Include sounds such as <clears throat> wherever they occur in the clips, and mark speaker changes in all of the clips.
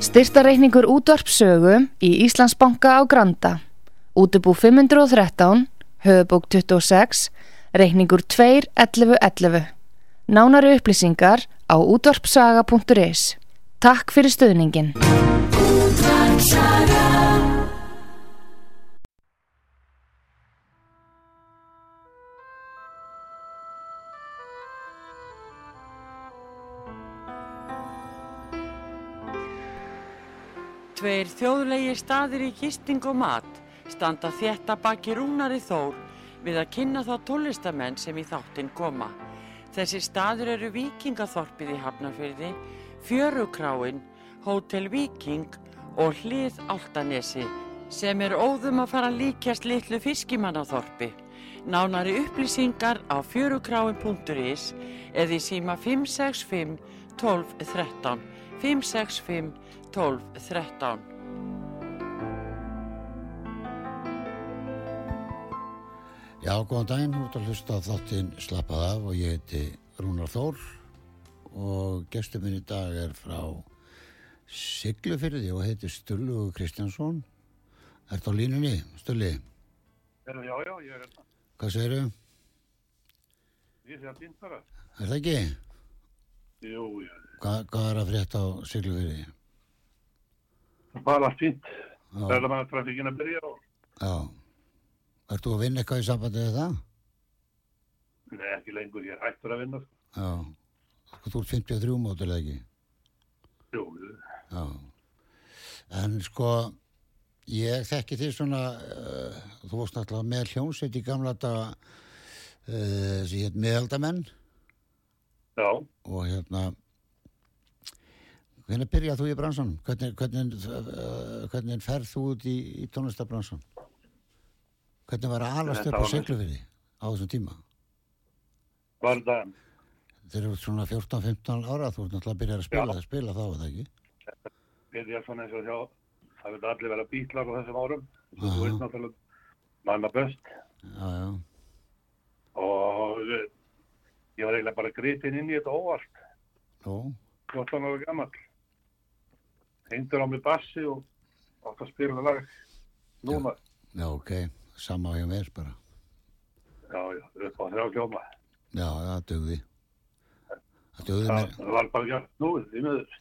Speaker 1: Styrtareikningur útvarpsögu í Íslandsbanka á Granda. Útubú 513, höfubók 26, reikningur 2.11.11. Nánari upplýsingar á útvarpsaga.is. Takk fyrir stöðningin.
Speaker 2: Tveir þjóðlegi staðir í gisting og mat standa þetta baki rúnari þór við að kynna þá tólistamenn sem í þáttinn koma. Þessi staður eru Víkingaþorpið í Hafnarfyrði, Fjörukráin, Hótel Víking og Hlið Altanesi sem er óðum að fara að líkjast litlu fiskimannaþorpi. Nánari upplýsingar á fjörukráin.is eða í síma 565 12 13 565 12 13
Speaker 3: Já, góðan daginn, þú ert að hlusta á þáttinn Slappað af og ég heiti Rúnar Þór og gestur minn í dag er frá Siglufyrði og heitir Stullu Kristjánsson. Ertu á línunni, Stulli?
Speaker 4: Heyrðu, Já, já, ég er hérna.
Speaker 3: Hvað segirðu?
Speaker 4: Ég sé að fínt bara.
Speaker 3: Er það ekki?
Speaker 4: Jú, já.
Speaker 3: Hvað, hvað er að frétta á Siglufyrði?
Speaker 4: Bara fínt.
Speaker 3: Já.
Speaker 4: Það er bara trafíkin að byrja og...
Speaker 3: Já. Ertu að vinna eitthvað í sambandi við það?
Speaker 4: Nei, ekki lengur, ég er hættur að vinna. sko.
Speaker 3: Já. Þú ert 53 mótil eða ekki?
Speaker 4: Jú,
Speaker 3: Já. En sko, ég þekki því svona, uh, þú varst náttúrulega með hljónsveit í gamla daga uh, sem hétt meðaldamenn
Speaker 4: já.
Speaker 3: og hérna, hvernig byrjað þú í bransanum? Hvernig, hvernig, uh, hvernig ferð þú út í, í tónlistabransan? Hvernig var að alast
Speaker 4: Þetta
Speaker 3: upp á
Speaker 4: var nú-
Speaker 3: seglufyrði á þessum tíma?
Speaker 4: Var það,
Speaker 3: Þeir eru svona 14-15 ára, þú ert náttúrulega að byrja að spila, að spila þá, er það ekki?
Speaker 4: byrja svona eins og hjá... Það vil allir vera bítlar á þessum árum.
Speaker 3: Aha.
Speaker 4: Þú veist náttúrulega manna best.
Speaker 3: Já, já,
Speaker 4: Og eh, ég var eiginlega bara gritin inn í þetta óvart.
Speaker 3: nú,
Speaker 4: 14 ára gammal. Hengdur á mig bassi og átt að spila lag. Núna.
Speaker 3: já, ok, sama á hjá mér bara.
Speaker 4: Já, já, upp á þrjá hljóma.
Speaker 3: Já, það dugði. Það dugði mér.
Speaker 4: Það var bara gert núið, því miður.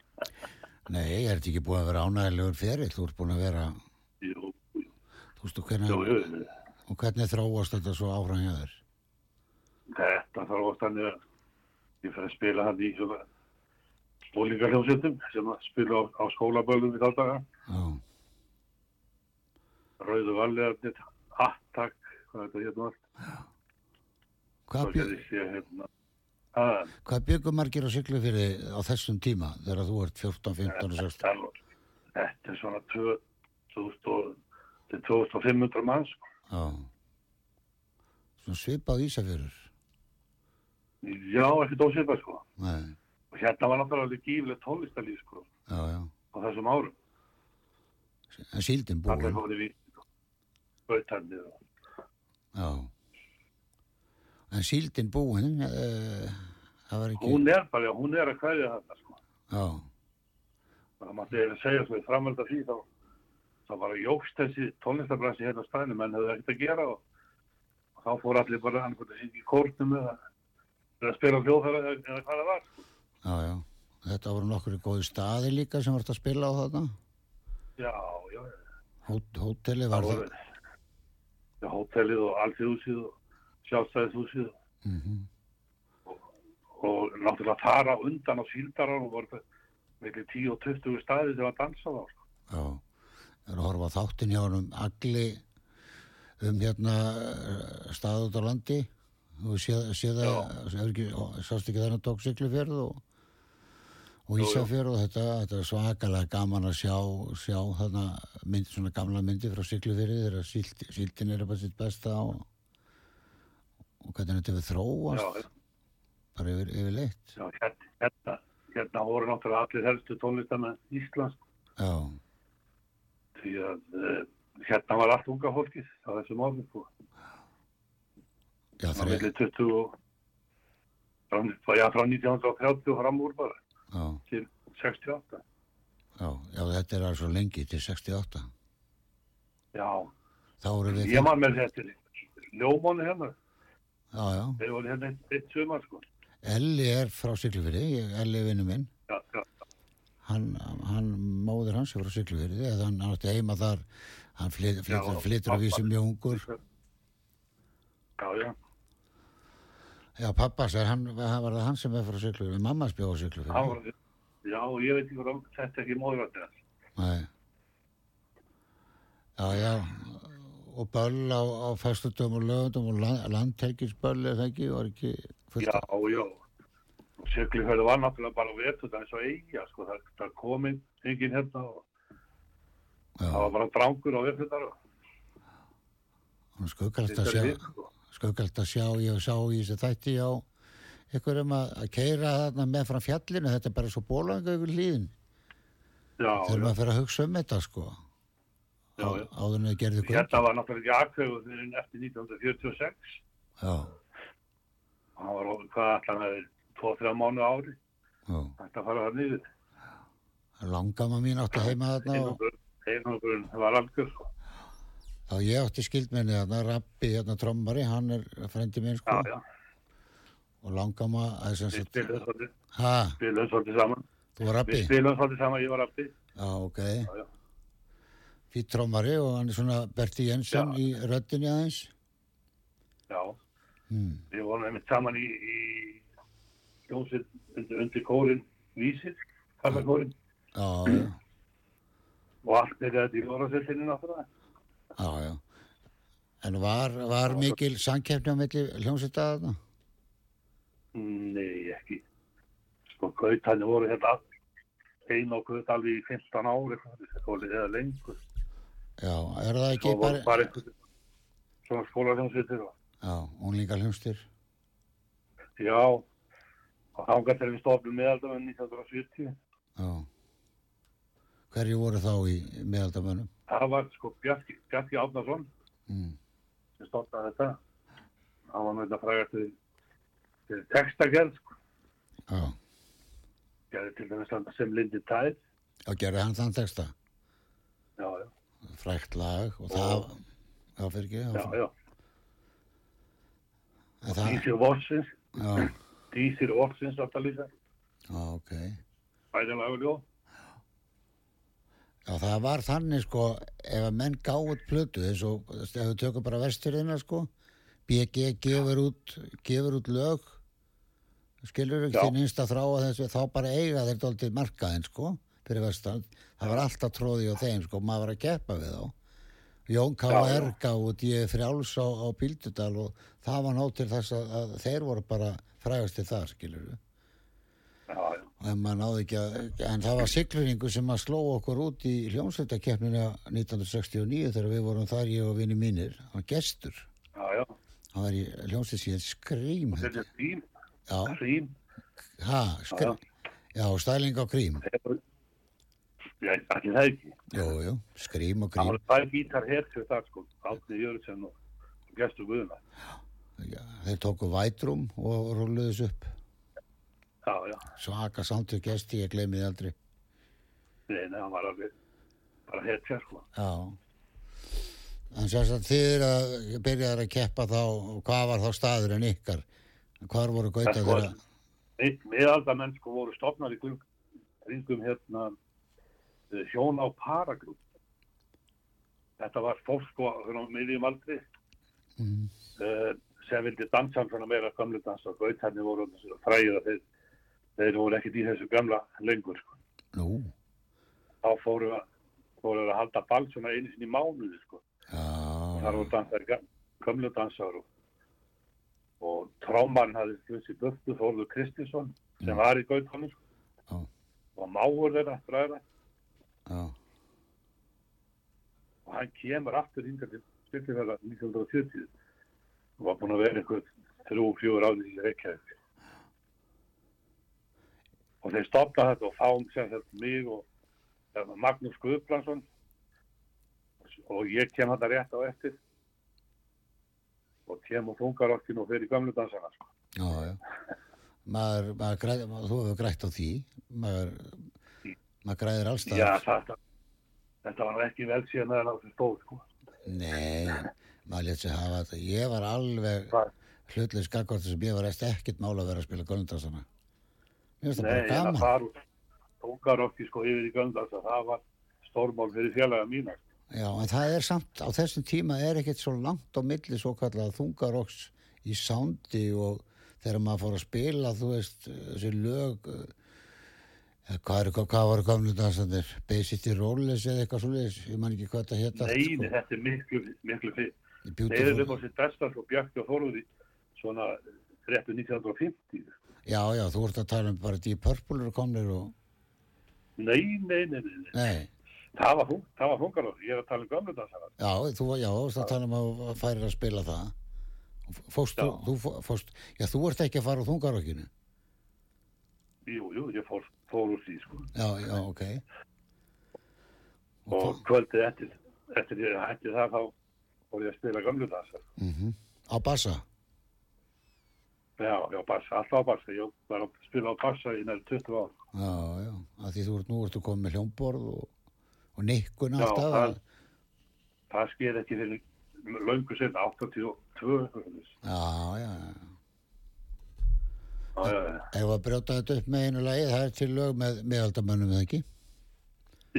Speaker 3: Nei, er þetta ekki búið að vera ánægilegur fyrir? Þú ert búin að vera,
Speaker 4: Jú, jú,
Speaker 3: þú veist, og
Speaker 4: jú,
Speaker 3: hvernig,
Speaker 4: jú.
Speaker 3: og hvernig þróast þetta svo áfram hjá þér?
Speaker 4: Þetta þarf oft hann að ég fyrir að spila hann í svona bólingarhjómsveitum sem að spila á, á skólaböllum í þá daga.
Speaker 3: Já,
Speaker 4: Rauðu vallegarnir, Attak, hvað er þetta hérna allt?
Speaker 3: hvað,
Speaker 4: Þá
Speaker 3: bjö,
Speaker 4: gerðist ég hérna. að-
Speaker 3: hvað byggum margir á siglu fyrir á þessum tíma þegar þú ert 14, 15 og 16?
Speaker 4: það var- Þetta er svona 2 2000 til 2500 manns. sko.
Speaker 3: Já. Svona svipað Ísafjörur?
Speaker 4: Já, ekki dósipa sko.
Speaker 3: Nei,
Speaker 4: Og hérna var náttúrulega alveg gífilegt tónlistalíf sko
Speaker 3: já, já.
Speaker 4: á þessum árum.
Speaker 3: En síldin
Speaker 4: Allir
Speaker 3: búin?
Speaker 4: fóru í bautarnir og
Speaker 3: Já. En síldin búin, uh, það var ekki...
Speaker 4: hún er bara, hún er að kvæðja þetta sko.
Speaker 3: Já,
Speaker 4: það mátti eiginlega segja svo í framhald af því þá, þá bara jókst þessi tónlistabransi hérna á staðinu, menn hefði ekkert að gera og, og þá fór allir bara annað að syngja í kórnum eða, eða spila á hljóðfæra eða, eða hvað það var.
Speaker 3: já, já. Þetta voru nokkru góði staði líka sem vart að spila á þarna?
Speaker 4: Já, já, já.
Speaker 3: Hót, hóteli var
Speaker 4: það
Speaker 3: það
Speaker 4: voru já, hótelið og alltíðhúsið og sjálfstæðishúsið
Speaker 3: mm
Speaker 4: og náttúrulega þar á undan á síldarann og voru það miklu 10 og 20 staði sem að dansa þá. sko.
Speaker 3: já ég er að horfa á þáttin hjá hann um agli um hérna stað út á landi og sé, sé það sé ekki, ó, sást ekki þennan tók siglufjörð og, og
Speaker 4: Jú, jú.
Speaker 3: Ísafjörð og þetta, þetta er svakalega gaman að sjá, sjá þarna mynd, svona gamla myndi frá siglufjörði þegar síld, síldin er bara sitt besta og, og hvernig þetta hefur þróast
Speaker 4: Já,
Speaker 3: bara yfir, yfir leitt
Speaker 4: já, hérna, hérna, hérna voru náttúrulega allir helstu tónlistamenn Íslands
Speaker 3: já,
Speaker 4: því að uh, hérna var allt unga fólkið á þessum árum sko.
Speaker 3: já
Speaker 4: Það var
Speaker 3: þre,
Speaker 4: millir 20 og frá, já, frá 1930 fram úr bara
Speaker 3: já,
Speaker 4: til 68
Speaker 3: já, já, þetta er alveg svo lengi til 68.
Speaker 4: já,
Speaker 3: Þá voru við...
Speaker 4: ég man með þetta ljómanu hérna,
Speaker 3: Já, já.
Speaker 4: þeir voru hérna eitt, eitt sumar sko
Speaker 3: Elli er frá Siglufyrði, ég- Elli vinnu minn.
Speaker 4: já, já,
Speaker 3: Hann, hann móður hans er frá Siglufyrði, eða hann átti heima þar, hann flyt, flytur,
Speaker 4: Já,
Speaker 3: flytur að vísi
Speaker 4: pabba.
Speaker 3: mjög ungur.
Speaker 4: já, já,
Speaker 3: Já, pappas, er hann, hann var það hann sem er frá Siglufyrði, mammas bjóð á
Speaker 4: hann
Speaker 3: Siglufyrði.
Speaker 4: var já, ég veit ekki hvað þetta ekki móðrætti þess
Speaker 3: Nei. Já, já, og böll á, á fastudum og lögundum og land, landhelgisböll eða ekki, var ekki fullt
Speaker 4: já,
Speaker 3: af-
Speaker 4: já og Siglufjörður var náttúrulega bara vetur það er svo eiga, sko, það, það kom inn enginn hérna og það var
Speaker 3: já.
Speaker 4: bara drangur á sko. vetur þar og
Speaker 3: Hún skuggalegt að
Speaker 4: þetta er
Speaker 3: sjá,
Speaker 4: við, sko.
Speaker 3: skuggalegt að sjá, ég sá í þessi þætti á einhverjum að, að keira þarna með fram fjallinu, þetta er bara svo bólanga ykkur hlýðin.
Speaker 4: já,
Speaker 3: Þegar
Speaker 4: já,
Speaker 3: maður fyrir að hugsa um þetta sko,
Speaker 4: já, já.
Speaker 3: áður en þau gerðu
Speaker 4: Þetta var náttúrulega ekki aðkauðu fyrir eftir 1946.
Speaker 3: Já,
Speaker 4: Og Hann var orðinn hvað allan að 2-3 mánu ári.
Speaker 3: já.
Speaker 4: Þetta fara það niður.
Speaker 3: Langamma mín átti heima þarna og
Speaker 4: Einhverjum var algjör sko.
Speaker 3: þá ég átti skildmenni þarna, Rappi, hérna trommari, hann er frendi minn
Speaker 4: Já,
Speaker 3: sko.
Speaker 4: já.
Speaker 3: Og langamma, það er sem
Speaker 4: Við
Speaker 3: sagt,
Speaker 4: spilum svolítið,
Speaker 3: ha,
Speaker 4: spilum svolítið saman.
Speaker 3: þú var Rappi?
Speaker 4: Við spilum svolítið saman, ég var afti.
Speaker 3: Já, ok.
Speaker 4: já.
Speaker 3: Fýtt trommari og hann er svona Berti Jensen
Speaker 4: Já.
Speaker 3: í röddinni aðeins.
Speaker 4: Já.
Speaker 3: Hmm.
Speaker 4: Við vorum einmitt saman í, í hljómsið undir, undir kórin Vísir. Kallar kórin.
Speaker 3: Já, já,
Speaker 4: Og allt er þetta í orðasettinni náttúrulega.
Speaker 3: já, já. En var, var mikil samkeppni á milli hljómsveita þarna?
Speaker 4: Nei, ekki. Sko, gautarnir voru hérna einn og gaut alveg í 15 ári, eða lengur.
Speaker 3: Já, er það ekki
Speaker 4: Svo voru
Speaker 3: bara...
Speaker 4: bara einhvern svona skólarhjómsveitir og
Speaker 3: Já, unglingar hljómsveitir.
Speaker 4: já, og þangað til við stofnum meðaldamenn 1970.
Speaker 3: Já. Hverju voru þá í meðaldamönnum?
Speaker 4: Það var sko Bjarki, Bjarki Átnason
Speaker 3: Mm.
Speaker 4: sem stofnaði þetta. Það var náttúrulega frægast til, til textagerð, sko.
Speaker 3: Já.
Speaker 4: Gerði til dæmis þarna sem Lindy Tide.
Speaker 3: Já, gerði hann þann texta.
Speaker 4: Já, já,
Speaker 3: Frækt lag og það... Já, fyrir ekki.
Speaker 4: já, já.
Speaker 3: En það...
Speaker 4: Dísir Vossins,
Speaker 3: Já,
Speaker 4: Dísir Vossins alltaf líka.
Speaker 3: já, ok.
Speaker 4: Bæði laguljóð.
Speaker 3: Já, það var þannig sko, ef að menn gá út plötu, eins og ef við tökum bara vesturina sko, BG gefur út, gefur út lög, skilur ekki
Speaker 4: Já.
Speaker 3: þinn einsta þrá að þessu, þá bara eiga þeir dóltið markaðin sko, fyrir vestan. Það var alltaf tróði á þeim sko, maður var að keppa við þá. Jón
Speaker 4: Já,
Speaker 3: K.R.
Speaker 4: já.
Speaker 3: gá út, ég er frjáls á, á Bíldudal og það var nóg til þess að, að þeir voru bara frægast til það, skilur
Speaker 4: Já, já.
Speaker 3: og en maður náði ekki að en það var sigluringu sem að sló okkur út í hljómsveitakeppnina 1969 þegar við vorum þar ég og vini mínir hann var gestur,
Speaker 4: Já, já,
Speaker 3: hann var í hljómsveit síðan skrím held ég.
Speaker 4: þetta er Grím,
Speaker 3: já,
Speaker 4: Grím,
Speaker 3: ha, skrím já, stæling á grím
Speaker 4: hefur, ég ætli það ekki,
Speaker 3: jú, jú, skrím og
Speaker 4: það
Speaker 3: grím
Speaker 4: var það gítar hertjóð þar sko, Átni Jörgsen og og Gestur Guðuna,
Speaker 3: já, þeir tóku vætrum og rúluðis upp
Speaker 4: já, já,
Speaker 3: svaka samtug gesti, ég gleymi þið aldrei
Speaker 4: nei, nei, hann var alveg bara hertjóð sko,
Speaker 3: já en sérst að þið eru að byrjaðar að keppa þá, hvað var þá staður en ykkar hvar voru gauta
Speaker 4: Það var-
Speaker 3: þeirra
Speaker 4: meðaldamenn sko voru stofnar í kring, kringum hérna eh, hjón á paragrúm, þetta var fólk sko, hérna á miðjum aldri,
Speaker 3: mm.
Speaker 4: uh, sem vildi dansa um svona meira gamlu dansa og gautarni voru þessir fræðir að þeir, þeir voru ekkert í þessu gamla lengur sko.
Speaker 3: Nú,
Speaker 4: þá fóru að, fóru að halda ball svona einu sinni í mánuði sko.
Speaker 3: já,
Speaker 4: þar voru dansar gömlu dansar og, og tráman hafði flussi buftu Þorður Kristinsson sem
Speaker 3: Já.
Speaker 4: var í gautunum sko.
Speaker 3: Já.
Speaker 4: og máur þeirra fræðra
Speaker 3: já,
Speaker 4: og hann kemur aftur hingað til styrkifæra 1970 og var búin að vera einhver 3-4 ári í Reykjavík og þeir stopna þetta og fáum sem þetta mig og hérna, Magnús Guðbrandsson og ég kem þetta rétt á eftir og kem og þungar okkur og fer í gamlu dansana sko.
Speaker 3: já, já. maður, maður græð, maður, þú hefur grætt á því maður, maður græðir
Speaker 4: Já,
Speaker 3: allstað
Speaker 4: þetta, þetta var ekki vel síðan að það sem stóð, sko.
Speaker 3: nei, maður létt sér hafa þetta ég var alveg
Speaker 4: Hvað?
Speaker 3: hlutlega skakvartur sem ég var eftir ekkert mála að vera að spila göndarsana mér finnst það
Speaker 4: Nei,
Speaker 3: bara
Speaker 4: það
Speaker 3: gaman
Speaker 4: fara tókar okki sko yfir í göndars að það var stórmál fyrir félaga mína.
Speaker 3: já, en það er samt, á þessum tíma er ekkert svo langt á milli svo kallað þungarokks í soundi og þegar maður fór að spila þú veist, þessi lög eh, hvað, er, hvað voru gamlu dansandir Basicity Rollers eða eitthvað svoleiðis ég man ekki hvað þetta hétt allt,
Speaker 4: Nei, þetta er miklu, miklu fyrir. Þeir eru upp á
Speaker 3: Beautiful.
Speaker 4: sitt besta sko Bjarki og Þorúði svona 13 1950.
Speaker 3: Já, já, þú ert að tala um bara Deep Purple eru komnir og...
Speaker 4: Nei, nei, nei, nei, nei.
Speaker 3: Nei,
Speaker 4: Það var, hún- það var hungar Ég er að tala um gamlu dansara.
Speaker 3: já, þú já, þú ert að tala um að færir að spila það. Fórst, þú,
Speaker 4: Já.
Speaker 3: þú fó- fórst, já, þú ert ekki að fara á þungarokkinu.
Speaker 4: Jú, jú, ég fór, fór úr því sko.
Speaker 3: Já, já, ok.
Speaker 4: Og kvöldið eftir, eftir ég hætti það þá fór ég að spila gamlu dansara.
Speaker 3: Mm Á bassa?
Speaker 4: Já, já, bassa, alltaf á bassa. Ég var að spila á bassa í næri 20 ár.
Speaker 3: Já, já, að því þú ert, nú ertu komið með hljómborð og, og nikkun
Speaker 4: Já,
Speaker 3: alltaf.
Speaker 4: það- Það sker ekki fyrir löngu sinna, 82 eitthvað svoleiðis.
Speaker 3: Já, já, já.
Speaker 4: Já, já, já.
Speaker 3: Ef að brjóta þetta upp með einu lagi, það er til lög með meðaldamönnum eða ekki?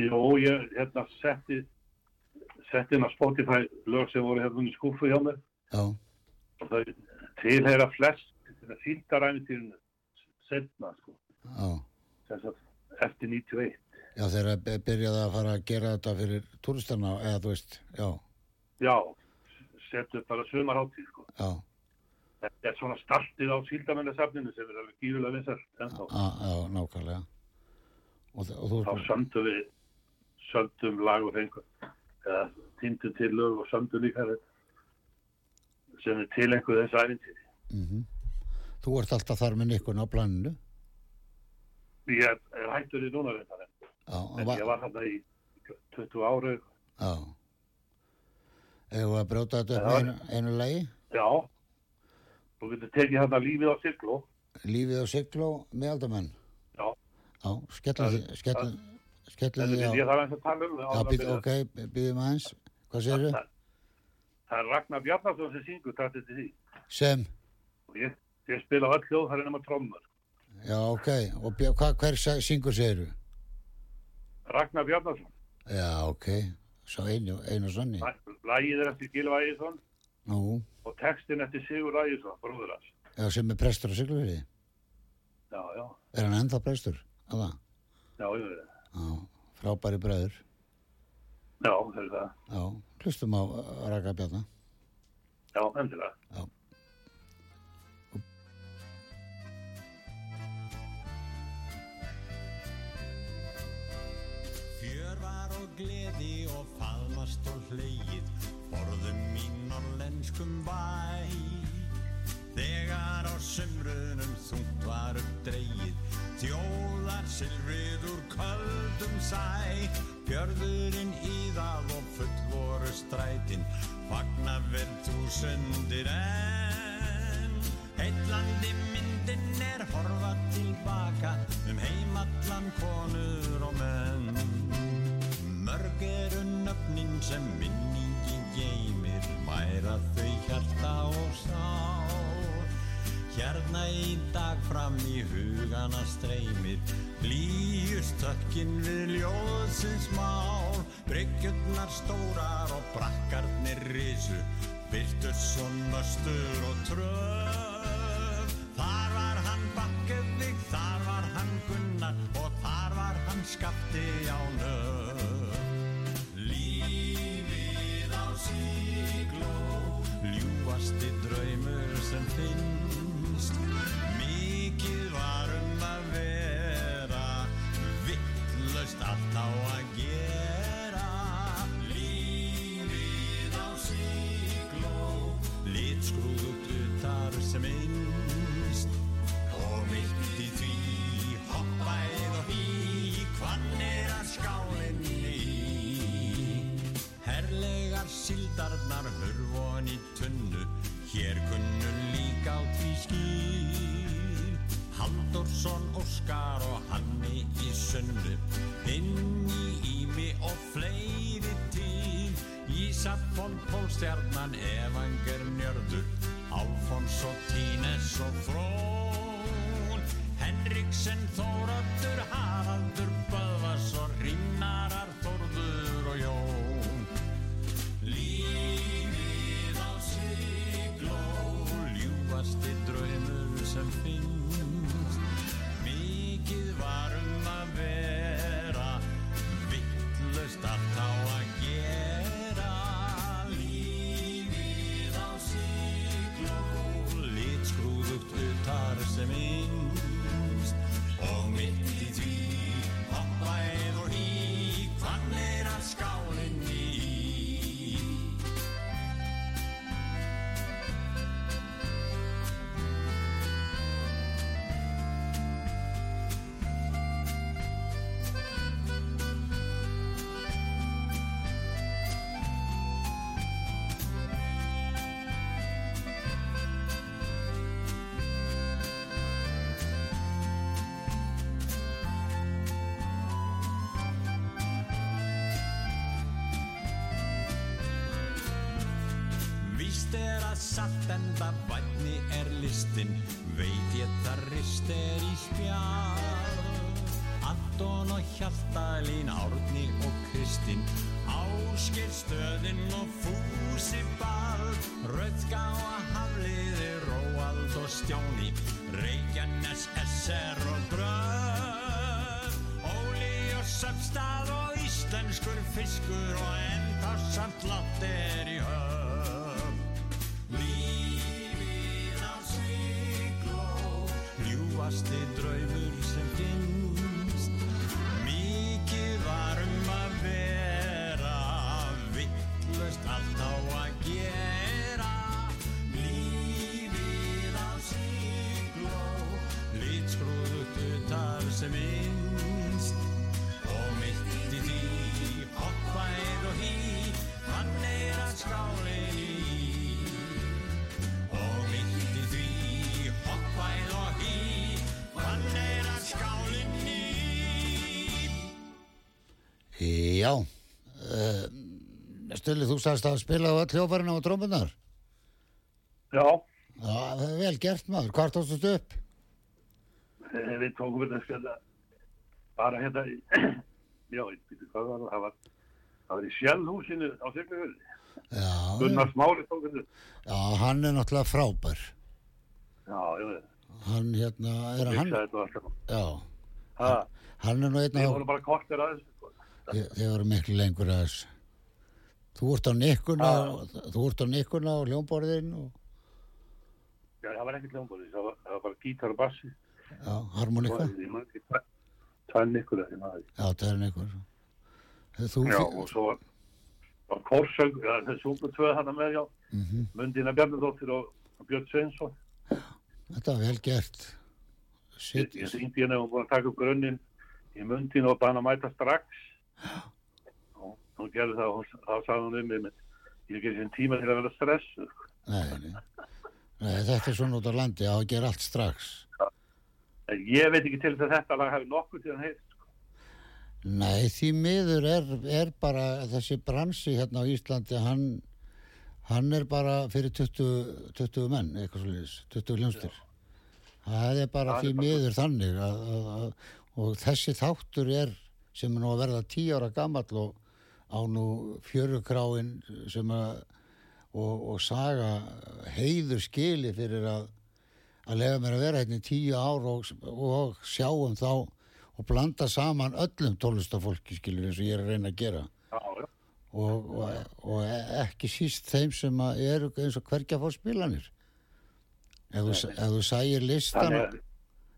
Speaker 4: Jó, ég hérna setti setti inn á Spotify lög sem voru hérna í skúfu hjá mér
Speaker 3: Já,
Speaker 4: og þau tilheyra flest síldaræfintýrinu setna, sko,
Speaker 3: já.
Speaker 4: þess að eftir 91.
Speaker 3: Já, þegar þeirra byrjaði að fara að gera þetta fyrir túristana eða þú veist, já,
Speaker 4: Já, settu upp bara sumarháttíð, sko.
Speaker 3: já,
Speaker 4: Þetta er svona startið á síldarmennasafninu sem er alveg gífulega vinsælt, en þá,
Speaker 3: a, já, nákvæmlega. Og, þ- og þú
Speaker 4: þá
Speaker 3: ert,
Speaker 4: sömdu við sömdum lag og fengur eða týndum til lög og sömdu líka þetta sem er tilenguð þessu æfintýri.
Speaker 3: mm þú ert alltaf þar með nikkun á planinu.
Speaker 4: Ég er hættur í núna þetta, en
Speaker 3: Já, og
Speaker 4: En
Speaker 3: va-
Speaker 4: ég var þarna í 20 ára,
Speaker 3: já. Eða að brjóta þetta upp
Speaker 4: Já.
Speaker 3: með einu, einu lagi,
Speaker 4: já. Þú getur tekið þarna lífið á sirkló.
Speaker 3: lífið á siglu meðaldamenn.
Speaker 4: Já.
Speaker 3: Já, skellum
Speaker 4: Það-
Speaker 3: þið, skellum, skellum
Speaker 4: En
Speaker 3: þið á.
Speaker 4: ég þarf eins að tala um það.
Speaker 3: Já,
Speaker 4: áður en
Speaker 3: býð,
Speaker 4: byrja.
Speaker 3: ok, býðum aðeins. Hvað segirðu?
Speaker 4: Það- Það er Ragnar Bjarnarsson sem syngur tættið til því.
Speaker 3: Sem,
Speaker 4: Og ég, ég spila á öll hljóð, það er nema trommar.
Speaker 3: já, ok. Og bjó- hvað, hver sa- syngur segirðu?
Speaker 4: Ragnar Bjarnarsson.
Speaker 3: Já, ok. Sá einu, einu sonni.
Speaker 4: Læ- Lagið er eftir Gilva Ægisson
Speaker 3: Nú,
Speaker 4: og textin eftir Sigur Ægisson, bróður hans.
Speaker 3: já, sem er prestur á Siglufjörði.
Speaker 4: Já, já,
Speaker 3: Er hann ennþá prestur? Alla.
Speaker 4: já, já, já,
Speaker 3: Já, frábæri bræður.
Speaker 4: já, það er það.
Speaker 3: Já, hlustum á uh, Raka Bjarna.
Speaker 4: Já, endilega.
Speaker 5: Fjör var og gleði og faðmast og hlegið Borðum í norrlenskum bæ Þegar á sumrunum þungt var upp dreigið Þjóðar silfrið úr köldum sæ Björðurinn íðað og full voru strætin Fagna vel þúsundir enn Heitlandi myndin er horfa tilbaka um heimallan konur og menn. Mörg eru nöfnin sem minningin geymir, mæra þau hjarta og sál. Hérna í dag fram í hugana streymir, blíjust tökkin við ljóðsins mál. Bryggjurnar stórar og brakkarnir risu, virtus og möstur og tröf. Þar var hann Bakkevik, þar var hann Gunnar og þar var hann Skapti á nöf. Lífið á sígló Ljúfasti draumur sem finnst Mikið var um að vera Vittlaust allt á að gera Lífið á sígló Litskrúðugt utar sem einn Óskar og Hanni í sunnu Binni, Ími og fleiri til Ísafon, Pólstjarnan, Evanger, Njörður Alfons og Tínes og Frón Henriksen, Þórattur, Haraldur, Böðvars og Rínarar, Þórður og Jón Lífið á sigló Ljúfasti draumur sem finnst Mikið varum að vera Vittlust að þá að gera Lífið á sigló Litskrúðugt utar sem minnst Og mitt í því Hoppæð og hí Hvannir að skálinni í Víst er að satt enda vætni er listin Veit ég það rist er í spjall Anton og Hjaltalín, Árni og Kristin Ásker stöðin og fúsi ball Röðga og hafliði, Róald og Stjáni Reykjanes, SR og Bröð Óli og Söfstað og Íslenskur fiskur Og enda samt látt er í höfn Lífið á sigló Ljúfasti draumur sem finnst Mikið varum að vera Vittlust allt á að gera Lífið á sigló Litskrúðut utar sem minnst Og mitt í því Hoppær og hí Hann er að skálin í Og mitt í því Hoppær og hí Hann er að skálin í
Speaker 3: Já, uh, Stulli, þú sagðist að spila á öll hljófarinn á trómunar.
Speaker 4: Já,
Speaker 3: Já, það er vel gert maður, hvart ástast upp?
Speaker 4: eh, við tókum þetta skjölda bara hérna í, <clears throat> já, ég býtu hvað var það, það var, það var í sjálfhúsinu á Siglufjörði.
Speaker 3: Já,
Speaker 4: Gunnar Smári tók þetta.
Speaker 3: já, hann er náttúrulega frábær.
Speaker 4: Já, já, já.
Speaker 3: Hann hérna, er
Speaker 4: Hann...
Speaker 3: hann,
Speaker 4: Þetta var alltaf.
Speaker 3: já,
Speaker 4: Ha,
Speaker 3: hann er nú einn
Speaker 4: við
Speaker 3: á,
Speaker 4: vorum bara kortir að þessu. sko.
Speaker 3: Þi- þið voru miklu lengur að þess. Þú ert á nikkuna, þú ert á nikkuna og hljómborðin og,
Speaker 4: Já, það var ekki hljómborðið, það, var- það var bara gítar og bassi.
Speaker 3: já, harmonika,
Speaker 4: Ég man ekki tvenn- Tvenn ykkur að því maður.
Speaker 3: já, það er nikkur. Þú,
Speaker 4: Já, og svo var, var korsöng, ja, það sungu tvö hana með, já,
Speaker 3: Mhm.
Speaker 4: Mundina Bjarnadóttir og og Björn Sveinsson.
Speaker 3: þetta er vel gert.
Speaker 4: Ég,
Speaker 3: Sitt,
Speaker 4: ég syngdi henni og búin að taka upp grunnin í Mundina og bara að mæta strax. Og hún gerði það og hún- þá sagði hún um mig, menn, ég gerði sér tíma til að vera stressu.
Speaker 3: nei, nei, nei, þetta er svona út á landi, á að gera allt strax.
Speaker 4: En ég veit ekki til þess að þetta lag hafi nokkuð til hann heilt.
Speaker 3: Nei, því miður er, er bara þessi bransi hérna á Íslandi, hann, hann er bara fyrir 20, 20 menn, eitthvað svolítið, 20 hljómstur. Það er bara
Speaker 4: Það er
Speaker 3: því
Speaker 4: bara-
Speaker 3: miður þannig að, að, að, og þessi þáttur er sem er nú að verða 10 ára gamall og á nú fjörugráin sem að, og, og saga heiður skili fyrir að, að lega mér að vera hérna í 10 ár og, og sjáum þá og blanda saman öllum tólestafólki skilur eins og ég er að reyna að gera
Speaker 4: Já, já.
Speaker 3: og, og, og e- ekki síst þeim sem að eru eins og hverja fór spilanir ef þú, s- ef þú sægir listan
Speaker 4: Þannig
Speaker 3: ef
Speaker 4: að,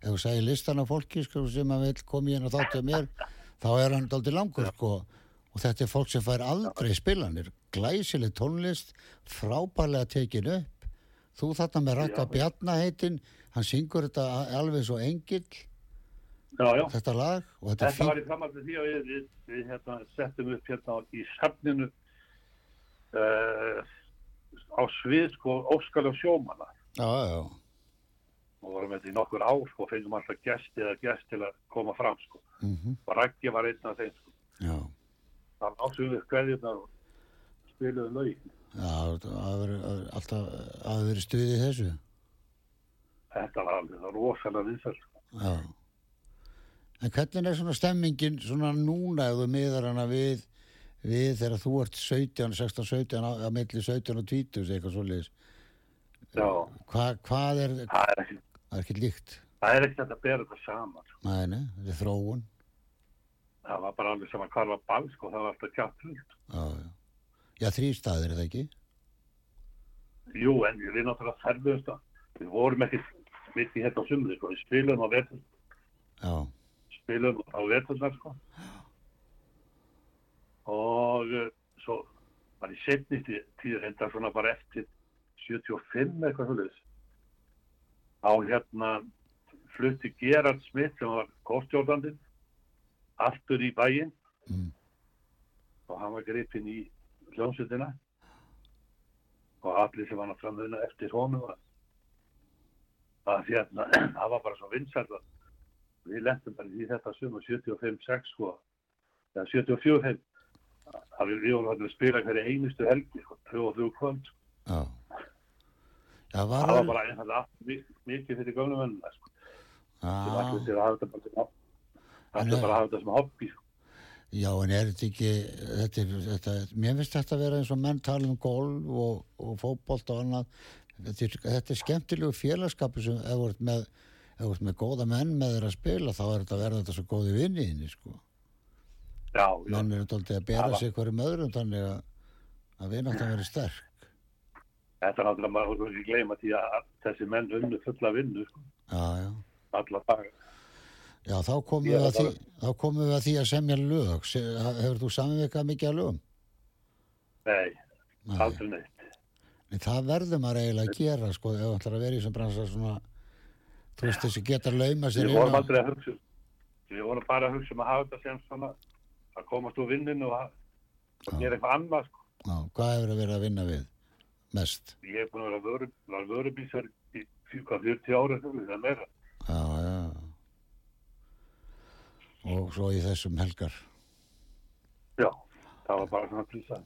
Speaker 3: þú sægir listan af fólki sko, sem að vil koma í henn og þáttu að mér þá er hann daldi langur sko og þetta er fólk sem fær aldrei spilanir glæsileg tónlist frábærlega tekin upp þú þarna með Raka Bjarnaheitin hann syngur þetta alveg svo engill
Speaker 4: já, já.
Speaker 3: þetta lag og þetta,
Speaker 4: Þetta
Speaker 3: fín-
Speaker 4: var í framhaldi því að við, við, við hérna, settum upp hérna í safninu uh, á svið sko Óskar og sjómana
Speaker 3: já, já, já.
Speaker 4: og og vorum þetta í nokkur ár sko, og fengum alltaf gesti eða gest til að koma fram sko. og Raggi var einn af þeim sko.
Speaker 3: já.
Speaker 4: það lásum við kveðjurnar og spiluðum lögin
Speaker 3: Já, það verður alltaf að verður stuðið í þessu.
Speaker 4: þetta var alveg það var rosalega sko. vinsæl
Speaker 3: Já. En hvernig er svona stemmingin svona núna ef þú miðar hana við, við þegar þú ert 17, 16, 17, á- að milli 17 og 20, eitthvað svoleiðis.
Speaker 4: já,
Speaker 3: Hva, hvað er,
Speaker 4: það er ekki
Speaker 3: það er ekki líkt?
Speaker 4: það er ekki hægt að bera þetta saman sko.
Speaker 3: Nei, nei, þetta er þróun.
Speaker 4: það var bara alveg saman hvað var ball sko, það var alltaf sko. kjátt
Speaker 3: Já, já. Já, þrý staðir er það ekki?
Speaker 4: jú, en við náttúrulega ferðumst að- við vorum ekki mikið hérna á sumri sko. við spiluðum á vetur
Speaker 3: Já,
Speaker 4: spilum á veturnar sko. og uh, svo var ég setni tíð enda svona bara eftir 75 eitthvað svolítið á hérna flutti Gerard Smith sem var kostjórnandi aftur í bæinn
Speaker 3: Mm.
Speaker 4: og hann var gripinn í hljómsutina og allir sem hann að framöðuna eftir honum að, að hérna, <clears throat> það var bara svo vinsælt að við lentum bara í þetta sumar 75-6 sko, eða 74-5 að við, við vorum þarna að spila hverja einustu helgi, sko, tvö og þrjú kvöld sko.
Speaker 3: já. Já, var
Speaker 4: það var
Speaker 3: vel-
Speaker 4: bara einfalda mikið fyrir gömlu mennina sko.
Speaker 3: Já.
Speaker 4: sem
Speaker 3: Ah.
Speaker 4: ætlum til að hafa þetta bara sem hobby
Speaker 3: En,
Speaker 4: ætlum bara að hafa þetta sem hobby sko.
Speaker 3: Já, en er þetta ekki, þetta, er- þetta, mér finnst þetta að vera eins og menn tala um golf og, og fótbolt og annað. Þetta er, þetta er skemmtilegu félagskapu sem ef þú ert með, ef þú ert með góða menn með þeirra að spila þá er þetta að verða þetta svo góði vinniðinni, sko.
Speaker 4: já, já,
Speaker 3: Menn eru dálítið að bera
Speaker 4: Það var-
Speaker 3: sig hverjum öðrum þannig að, að vináttan verið sterk.
Speaker 4: þetta er náttúrulega maður voru ekki gleyma því að þessi menn unnu fulla vinnu sko,
Speaker 3: Já, já.
Speaker 4: alla daga
Speaker 3: Já, þá komum
Speaker 4: Ég
Speaker 3: við
Speaker 4: er
Speaker 3: að því, þá komum við að því að semja lög. Se- Hefur þú samvikað mikið að lögum?
Speaker 4: nei,
Speaker 3: Nei.
Speaker 4: aldrei neitt
Speaker 3: En það verður maður eiginlega að gera sko ef þú ætlar að vera í þessum bransa svona þú veist þessi geta lauma sér
Speaker 4: við
Speaker 3: inn
Speaker 4: vorum
Speaker 3: á-
Speaker 4: aldrei að hugsa um- við vorum bara að hugsa um að hafa þetta sem svona að komast úr vinninu og, að- og gera eitthvað annað sko.
Speaker 3: Já, hvað hefur að vera að vinna við mest?
Speaker 4: ég hef búin að vera vöru, var vörubísar í fjö- hvað, 40 ára þjóðum, það er meira.
Speaker 3: Já, já og svo í þessum helgar
Speaker 4: Já, það var bara svona plýsa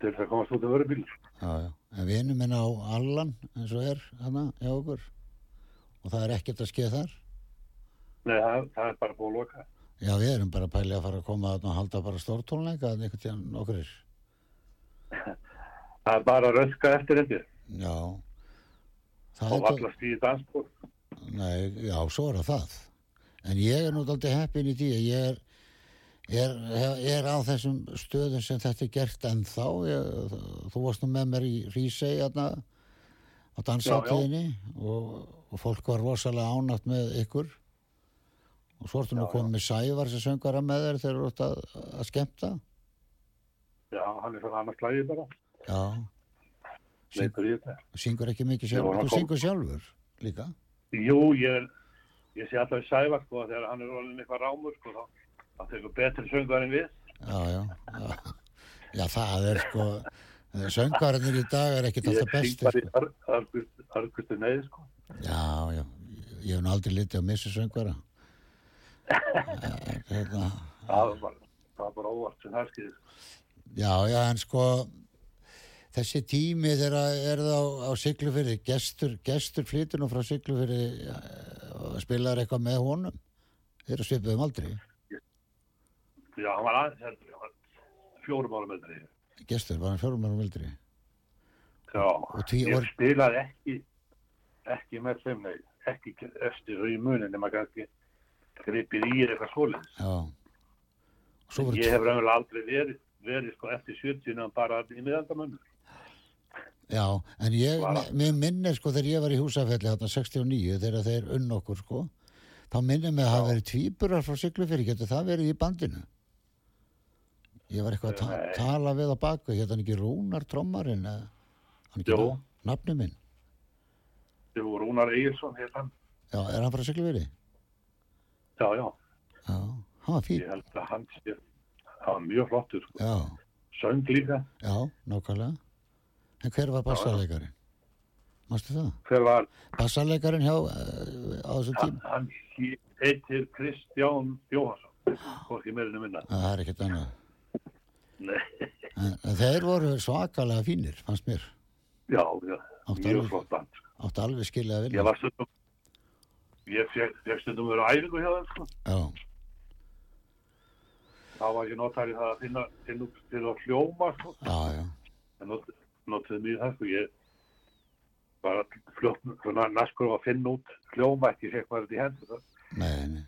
Speaker 4: til þess að komast út af vörubíl.
Speaker 3: já, já, en vinur minn á Allan eins og er hana hjá okkur og það er ekkert að skeið þar
Speaker 4: Nei, það, það er bara búin að loka.
Speaker 3: já, við erum bara að pæli að fara að koma þarna og halda bara stórtónleika en einhvern tíðan okkur er
Speaker 4: Það er bara að röska eftir hendur
Speaker 3: já það
Speaker 4: og
Speaker 3: er
Speaker 4: valla stíði dansbúr.
Speaker 3: Nei, já, svo er það það. En ég er nú aldrei heppin í því að ég er, er, er á þessum stöðum sem þetta er gert ennþá. Ég, þú varst nú með mér í Rísei aðna á dansáttíðinni og, og fólk var rosalega ánátt með ykkur. Og svo ertu nú komið með Sævar sem söngara með þér þegar þú ert að, að skemmta.
Speaker 4: Já, hann er svona annars lagið bara.
Speaker 3: Já, Sýn-
Speaker 4: Leitur í þetta.
Speaker 3: syngur ekki mikið
Speaker 4: var
Speaker 3: sjálfur.
Speaker 4: að
Speaker 3: Þú
Speaker 4: koma.
Speaker 3: syngur sjálfur líka.
Speaker 4: Jú, ég er, ég sé alltaf í sævar sko, þegar hann er orðin eitthvað rámur sko, þá, þá tekur betri söngar en við.
Speaker 3: já, já, já. Já, það er sko, söngvarnir í dag er ekkert alltaf
Speaker 4: Ég
Speaker 3: bestir.
Speaker 4: er
Speaker 3: Sko.
Speaker 4: bara í örgustu neyð sko.
Speaker 3: Já, já, ég hef nú aldrei litið á missu söngvara. Eh, Hérna,
Speaker 4: Það var bara, það var bara óvart sem það sko. skýðir.
Speaker 3: já, já, en sko, þessi tími þegar er það á, á Siglufyrði, gestur, gestur flytur nú frá Siglufyrði eh, og spilar eitthvað með honum. Þeir eru um svipuðum aldrei,
Speaker 4: Já, hann var aðeins heldur, hann var fjórum ára með því.
Speaker 3: gestur, bara fjórum árum aldrei.
Speaker 4: Já,
Speaker 3: tví-
Speaker 4: ég
Speaker 3: og-
Speaker 4: spilaði ekki, ekki með þeim, nei, ekki eftir og í munin, nema kannski gripið í eða eitthvað svoleiðis.
Speaker 3: Já. Svo voru
Speaker 4: Ég hef raunverulega aldrei verið, verið sko eftir 70 en bara í miðaldamönnum.
Speaker 3: Já, en ég,
Speaker 4: Bara.
Speaker 3: mér- mér minnir sko þegar ég var í húsafelli hérna 69 þegar þeir unn okkur sko þá minnir mig að hafa verið tvíburar frá Siglufjörði, getur það verið í bandinu? Ég var eitthvað að ta
Speaker 4: Nei.
Speaker 3: tala við á baku, hérna hann ekki Rúnar Trommarinn eða hann ekki
Speaker 4: Jú.
Speaker 3: na- nafnið minn.
Speaker 4: Þegar voru Rúnar Egilson, hér hann.
Speaker 3: Já, er hann frá Siglufjörði?
Speaker 4: Já, já,
Speaker 3: Já, hann var fín.
Speaker 4: ég held að hann sé, það var mjög flottur sko.
Speaker 3: Já,
Speaker 4: Söng líka,
Speaker 3: já, nákvæmlega. En hver var bassalegari? mástu það?
Speaker 4: Hver var?
Speaker 3: Bassarleikarinn hjá eh, á þessu tím?
Speaker 4: Hann hét- heitir Kristján Jóhansson. Hvorki meirinu minna.
Speaker 3: Að Það er ekkert annað.
Speaker 4: Nei,
Speaker 3: En, en þeir voru svakalega fínir, fannst mér.
Speaker 4: já, já.
Speaker 3: Áttu
Speaker 4: Mjög
Speaker 3: alveg-
Speaker 4: flott band.
Speaker 3: Áttu alveg skiljaði
Speaker 4: Ég
Speaker 3: vilja.
Speaker 4: var stundum, ég fekk fekk stundum að vera á æfingu hjá þeim, sko.
Speaker 3: Já,
Speaker 4: Þá var ég notar í það að finna, finna upp til að hljóma, sko.
Speaker 3: já, já.
Speaker 4: Ég not, notaði mjög það, sko. Ég var fljótt, svona naskur á að finna út hljóma, ekki fekk maður þetta í hendur, það.
Speaker 3: Nei, nei.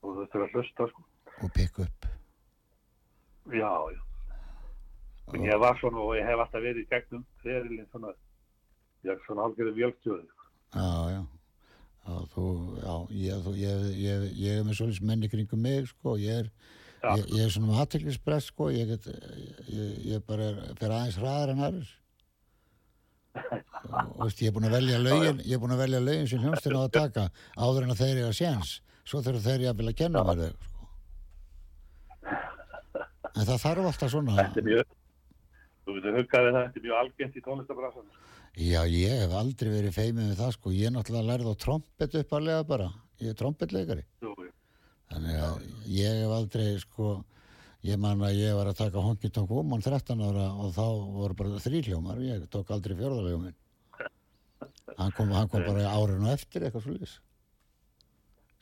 Speaker 4: Og þú þurftur að hlusta, sko.
Speaker 3: Og pikk upp.
Speaker 4: Já, já. En ég var svona og ég hef alltaf verið í gegnum ferilinn svona, ég er svona sko. halgerðið vjöldstjóðið.
Speaker 3: Já, já. Já, þú, já, ég, þú, ég, ég, ég er með svolítið menni kringum mig, sko. Ég er,
Speaker 4: Já.
Speaker 3: ég, ég er svona með hattiklisbrest, sko. Ég get, ég, ég bara er, fer aðeins hraðar en
Speaker 4: <laughs>
Speaker 3: aðeins. Og, veist, ég er búinn að velja lögin, ég er búinn að velja lögin sem hljómsdýr á að taka áður en að þeir eru að séns. Svo þurfa þeir jafnvel að kenna mér þau, sko. En það þarf alltaf svona.
Speaker 4: Þetta er mjög, þú getur huggaðið það, þetta er mjög algengt í sko. tónlistabransanum.
Speaker 3: Já, ég hef aldrei verið feimið við það sko, ég náttúrulega lærði á trompet upparlega bara, ég er trompetleikari.
Speaker 4: Jú, jú.
Speaker 3: Þannig að ég hef aldrei sko, ég man að ég var að taka hongi tók woman 13 ára og þá voru bara þrýljómar, ég tók aldrei fjórðaljómin. Hann kom, hann kom bara árinu eftir eitthvað svolítið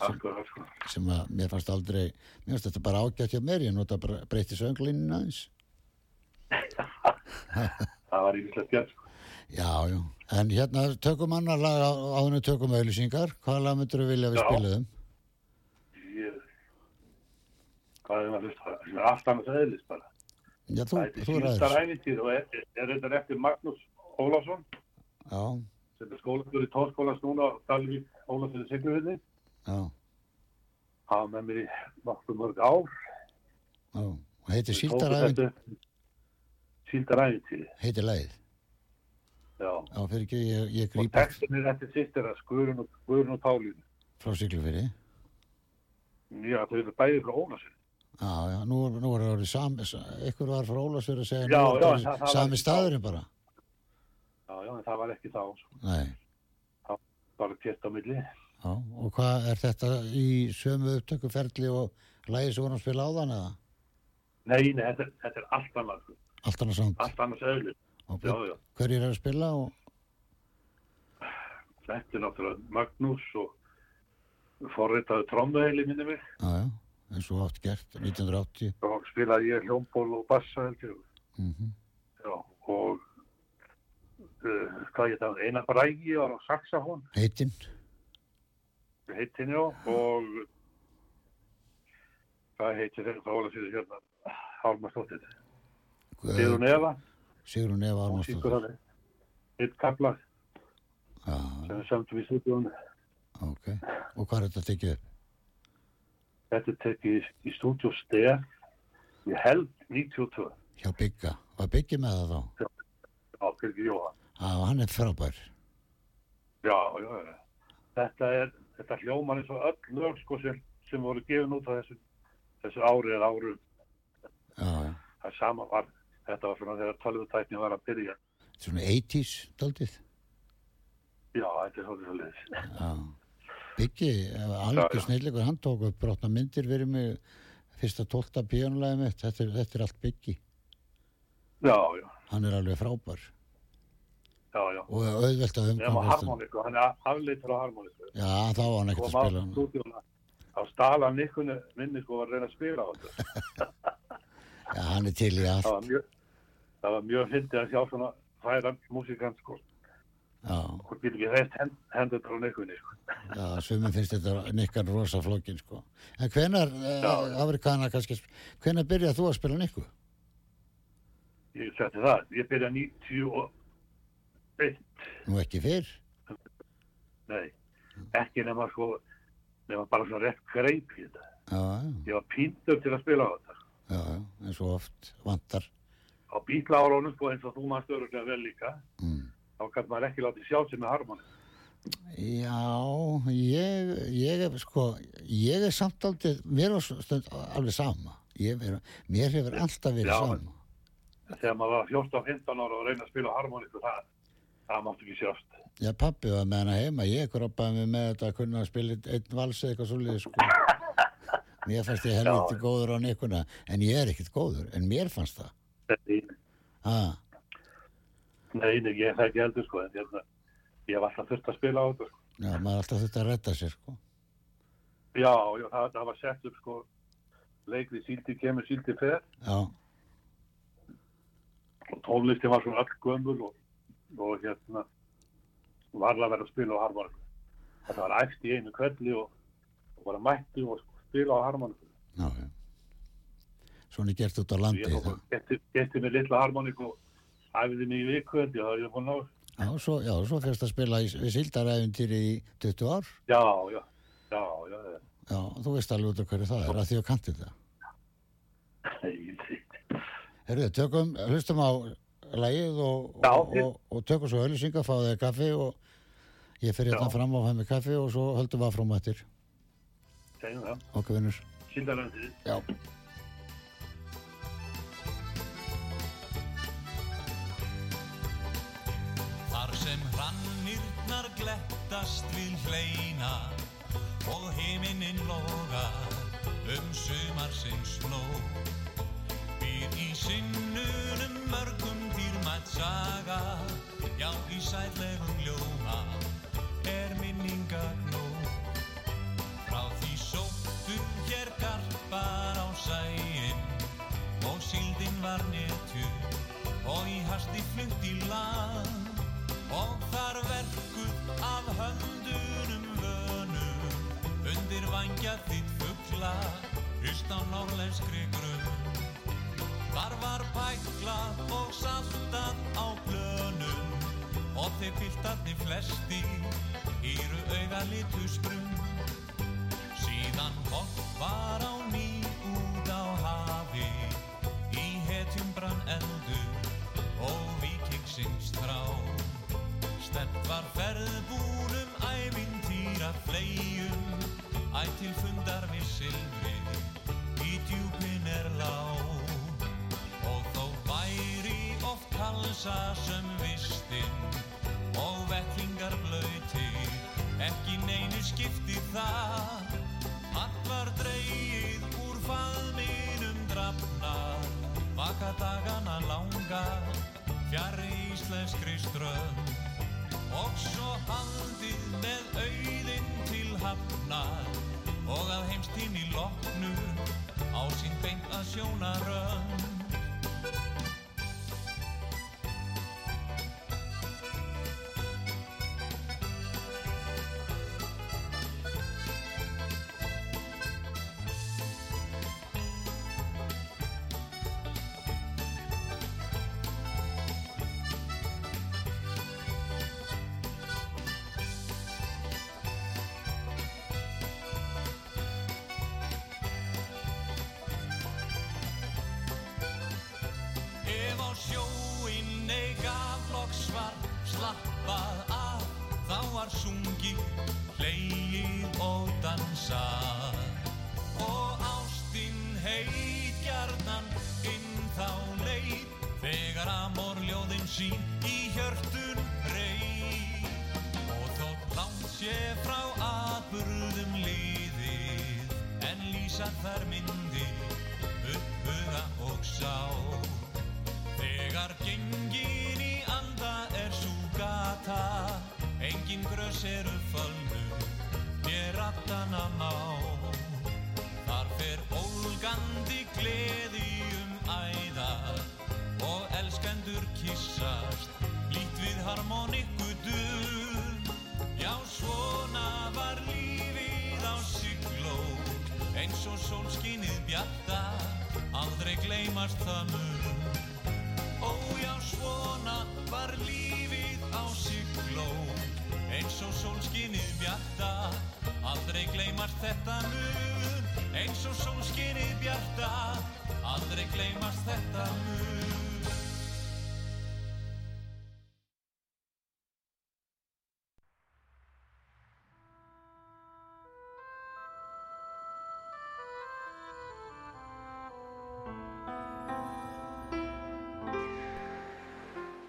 Speaker 4: Akkurat, sko.
Speaker 3: sem að mér fannst aldrei, mér fannst þetta bara ágætt hjá mér, ég nota bara breyti sönglinni aðeins.
Speaker 4: Það var ímislegt gert, sko.
Speaker 3: Já, já, en hérna tökum annar lag á, áðunni tökum auðlýsingar, hvaða lag myndur þú vilja að við um?
Speaker 4: Já.
Speaker 3: spilaðum?
Speaker 4: Ég, hvað er maður að hlusta á það? Það er allt annars eðlis bara.
Speaker 3: Já, þú,
Speaker 4: Það heitir
Speaker 3: þú ræður.
Speaker 4: Sýndarævintýr og er, er reyndar eftir Magnús Ólafsson,
Speaker 3: Já,
Speaker 4: sem er skólafjör í tónskólas núna á Dalvík Ólafsson í Siglufinni.
Speaker 3: já,
Speaker 4: Hann var með mér í nokkuð mörg ár.
Speaker 3: já. Og heitir
Speaker 4: Við tókum
Speaker 3: Síldarævin,
Speaker 4: þetta upp, Síldarævintýri,
Speaker 3: heitir lagið.
Speaker 4: já.
Speaker 3: Já, fyrir ekki, ég, ég
Speaker 4: Og
Speaker 3: grýpa
Speaker 4: textin er eftir sýstir að skurun og, skurun og tálínu.
Speaker 3: frá Siglufyrði.
Speaker 4: Já, þau eru bæði frá Ólafsson.
Speaker 3: Já, já, nú, nú er það orðið sami, ykkur var frá Ólasur að segja,
Speaker 4: Já,
Speaker 3: nú er
Speaker 4: já,
Speaker 3: það orðið
Speaker 4: það- það var
Speaker 3: sami
Speaker 4: ekki-
Speaker 3: staðurinn bara.
Speaker 4: Já, já, en það var ekki þá, sko.
Speaker 3: Nei,
Speaker 4: Bara tett á milli.
Speaker 3: já, og hvað er þetta í sömu upptökuferli og lagið sem vorum að spila áðan eða?
Speaker 4: Nei, nei, þetta, er- þetta er allt annars, sko.
Speaker 3: Allt annað samt.
Speaker 4: Allt annars eðlis.
Speaker 3: Og
Speaker 4: Já, já.
Speaker 3: hverjir er að spila og,
Speaker 4: Þetta er náttúrulega Magnús og forritaði trommuheili minni mig
Speaker 3: já, já, eins og átt gert, 1980.
Speaker 4: og spilaði ég hljómból og bassa held ég.
Speaker 3: Mm
Speaker 4: Já, og uh, hvað ég það, Einar Brægi var á saxafón,
Speaker 3: Heitinn,
Speaker 4: heitin já, og hvað heitir þeirra frá Óla síðu hérna, Hálmar Stóttir, Sigur Neva,
Speaker 3: Sigrun Eva
Speaker 4: hún syngur
Speaker 3: Armarsdóttir.
Speaker 4: hann eitt kapla
Speaker 3: Já, já,
Speaker 4: sem við sömdum í stúdíun.
Speaker 3: ok. Og hvað er þetta að tekja upp?
Speaker 4: Þetta er tekið í, í stúdíu steg, ég held 92,
Speaker 3: Hjá Bygga. Var Byggi með það þá?
Speaker 4: á Birgir Jóhann.
Speaker 3: Já, hann er frábær.
Speaker 4: Já, já, já. Þetta er, þetta hljómar eins og öll lög sko sem, sem voru gefin út á þessu, þessu ári eða áru.
Speaker 3: Já, já.
Speaker 4: Það sama var, þetta var svona þegar tölvutækni var að byrja.
Speaker 3: Þetta er Svona 80s, daldið.
Speaker 4: Já, þetta er svolítið svolítið.
Speaker 3: Já. Byggi, eh, algjör
Speaker 4: já.
Speaker 3: snilligur, hann tók upp brotna myndir fyrir mig fyrsta tólta píjónulegið mitt. Þetta er, þetta er allt Byggi.
Speaker 4: Já, já,
Speaker 3: Hann er alveg frábær.
Speaker 4: já, já.
Speaker 3: Og auðvelt að
Speaker 4: Nefn á
Speaker 3: umgangast hann.
Speaker 4: harmoniku, hann er afleitur á harmoniku.
Speaker 3: Já, þá var hann ekkert
Speaker 4: Kom
Speaker 3: að
Speaker 4: á
Speaker 3: spila hann.
Speaker 4: stúdíuna, á stala nikkunni minni sko var að reyna að spila á þetta.
Speaker 3: Já, hann er til í
Speaker 4: Það
Speaker 3: allt.
Speaker 4: var mjög, það var mjög fyndið að sjá svona færa músikant sko.
Speaker 3: Já,
Speaker 4: Hún getur ekki reynt hend, hendur á nikkunni sko.
Speaker 3: já, sumum finnst þetta nikkan rosa flókin, sko. En hvenar,
Speaker 4: Já, já.
Speaker 3: afrikana kannski, hvenar byrjað þú að spila nikku?
Speaker 4: Ég setti það. Ég byrja 91
Speaker 3: Nú ekki fyrr?
Speaker 4: Nei, ekki nema sko, nema bara svona rétt greip í þetta.
Speaker 3: Já, já.
Speaker 4: Ég var píntur til að spila á þetta.
Speaker 3: Já, já, eins og oft vantar.
Speaker 4: Á bílárunum sko eins og þú mannst öruglega vel líka,
Speaker 3: Mm.
Speaker 4: þá kannu maður ekki látið sjá sig með harmoni.
Speaker 3: Já, ég, ég er sko, ég er samt aldrei, mér er stund alveg sama. Ég, er, mér hefur alltaf verið
Speaker 4: Já.
Speaker 3: sama.
Speaker 4: Þegar maður var 14-15 ára og reyna að spila á harmoni sko það, það mátti ekki sjást.
Speaker 3: Já, pappi var með hana heima, ég kroppaði mig með þetta að kunna að spila einn- einn vals eða eitthvað svolítið, sko. Mér fannst ég helviti
Speaker 4: Já.
Speaker 3: góður á neikuna, en ég er ekkert góður, en mér fannst það.
Speaker 4: Nei,
Speaker 3: Ha,
Speaker 4: nei, nei, ég er það ekki heldur sko, en hérna, ég var alltaf þurft að spila á þetta. sko.
Speaker 3: já, maður er alltaf þurfti að retta sér, sko.
Speaker 4: Já, já það, það var sett upp sko, leikrið síldi kemur, síldi fer
Speaker 3: Já,
Speaker 4: og tónlistin var svona öll gömul og, og hérna, varla að vera að spila á harmonikum. Þetta var æft í einu kvelli og, og bara mættu og spila á harmonikum.
Speaker 3: já, já. Svona er gert út á landi,
Speaker 4: Ég tók
Speaker 3: það.
Speaker 4: bara- geti geti mig litla harmonik og æfiði mig í viku, en ég hafði búin að ná.
Speaker 3: Já, svo, já, svo fyrst að spila í, við sildaræfintýri í 20 ár.
Speaker 4: Já, já, já, já, já.
Speaker 3: Já, þú veist alveg út af hverju það er, að því að kantir það.
Speaker 4: Nei, nei.
Speaker 3: Herðu, tökum, hlustum á lægið og,
Speaker 4: Já,
Speaker 3: og,
Speaker 4: þið-
Speaker 3: og, og tökum svo öllisinga, fá þér kaffi og ég fer hérna
Speaker 4: Já.
Speaker 3: fram og fæ mig kaffi og svo höldum við áfram á eftir.
Speaker 4: segjum það.
Speaker 3: Okkur vinnur.
Speaker 4: Sýndarlandið.
Speaker 3: Já.
Speaker 5: Þar sem hrannirnar glettast við hleina og heiminninn logar um sumarsins nóg. Býð í sinnunum mörgum dýrmætt saga, já í sætlegum ljóma er minningar nóg. Frá því sóttu hér garpar á sæin og síldin var netju og í hasti flutt í land og þar verkuð af höndunum vönum undir vangja þitt fugla hrist á norlenskri grunn Þar var pæklað og saltað á blönum og þeir piltarnir flesti íru auga litu sprung Síðan hopp var á ný út á hafi Í hetjum brann eldur og vikingsins þrá Stemt var ferðbúnum ævintýra flegjum Æ til fundar við silfri í djúpin er lág Og þó væri oft kalsa sem vistinn og vettlingar blöytir, ekki neinu skipti það. Allt var dreigið úr faðminum drafnar, vaka dagana langa, fjari íslenskri strönd. Og svo haldið með auðinn til hafnar og að heimstími loknu á sín beint að sjóna rönd. Ef á sjóinn eiga flokks var slappað af Þá var sungið, hlegið og dansað Og ástinn heit gjarnan inn þá leið Þegar amorljóðin sín í hjörtun reið Og þótt langt sé frá aðburðum liðið En lýsa þær myndir upphuga og sá Þegar gengin í anda er sú gata Engin grös eru fölnu Mér rattana má Þar fer ólgandi gleði um æðar Og elskendur kissast Lít við harmoniku duð Já, svona var lífið á sigló Eins og sólskinið bjarta Aldrei gleymast það mun Ó já, svona var lífið á sigló Eins og sólskinið bjarta Aldrei gleymast þetta mun Eins og sólskinið bjarta Aldrei gleymast þetta mun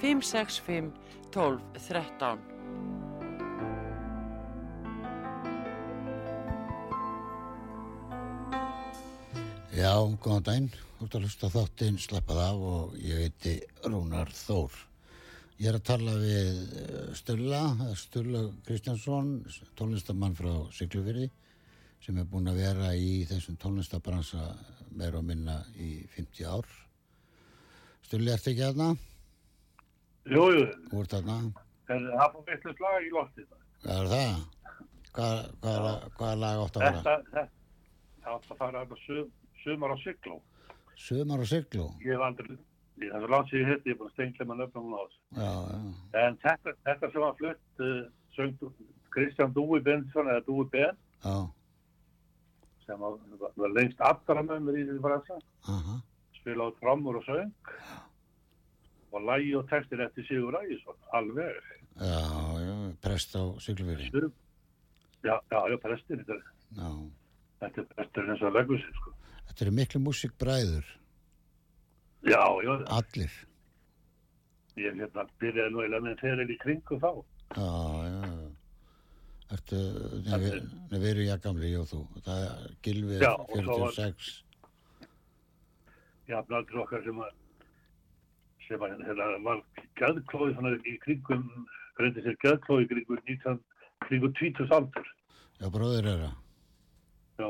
Speaker 2: 565 12 13
Speaker 3: Já, góðan daginn, þú ert að hlusta á þáttinn, slappað af og ég heiti Rúnar Þór. Ég er að tala við eh, Stulla, eh, Stulla Kristjánsson, tónlistamann frá Siglufyrði sem er búinn að vera í þessum tónlistabransa meira og minna í 50 ár. Stulli, ertu ekki aðna?
Speaker 4: Jú, jú,
Speaker 3: Þú ert aðna?
Speaker 4: en það fór vitlu slag í loftið.
Speaker 3: Það er það. Hvað, hvað, lag- hvað lag átt að vera?
Speaker 4: Þetta, þetta, það átt að fara þetta sum, sumar á Sigló.
Speaker 3: Sumar og Siglu?
Speaker 4: Ég hef aldrei, ég hef lansið hitt, ég er búin að stengla með nöfnum hún á þessu.
Speaker 3: Já, já.
Speaker 4: En þetta, þetta sem var flutt, uh, söng Kristján Dúi Bensson eða Dúi Ben,
Speaker 3: Já,
Speaker 4: sem var, var lengst aftar að með mér í þessu bransa,
Speaker 3: aha.
Speaker 4: spilaði trommur og söng og lægi og textin eftir Sigur Ægisson, alveg.
Speaker 3: Já, já, prest á Siglufyrði.
Speaker 4: Sum, já, já, já, prestin, þetta, er-
Speaker 3: Já.
Speaker 4: þetta er prestin eins og leggur sig, sko.
Speaker 3: Þetta eru miklu músikbræður,
Speaker 4: Já, já,
Speaker 3: allir.
Speaker 4: ég hérna byrjaði nú eiginlega með feril í kringu þá.
Speaker 3: Já, já, já. Ertu, nei, við, nei, við erum jafngamli, ég og þú. Það er Gilvi
Speaker 4: Já,
Speaker 3: er
Speaker 4: og svo var-
Speaker 3: 46.
Speaker 4: jafnaldur okkar sem að sem að hérna var gæðklóði svona í kringum reyndi sér gæðklóði í kringum 19, kringum 20 aldur
Speaker 3: Já, bróðir er það.
Speaker 4: já,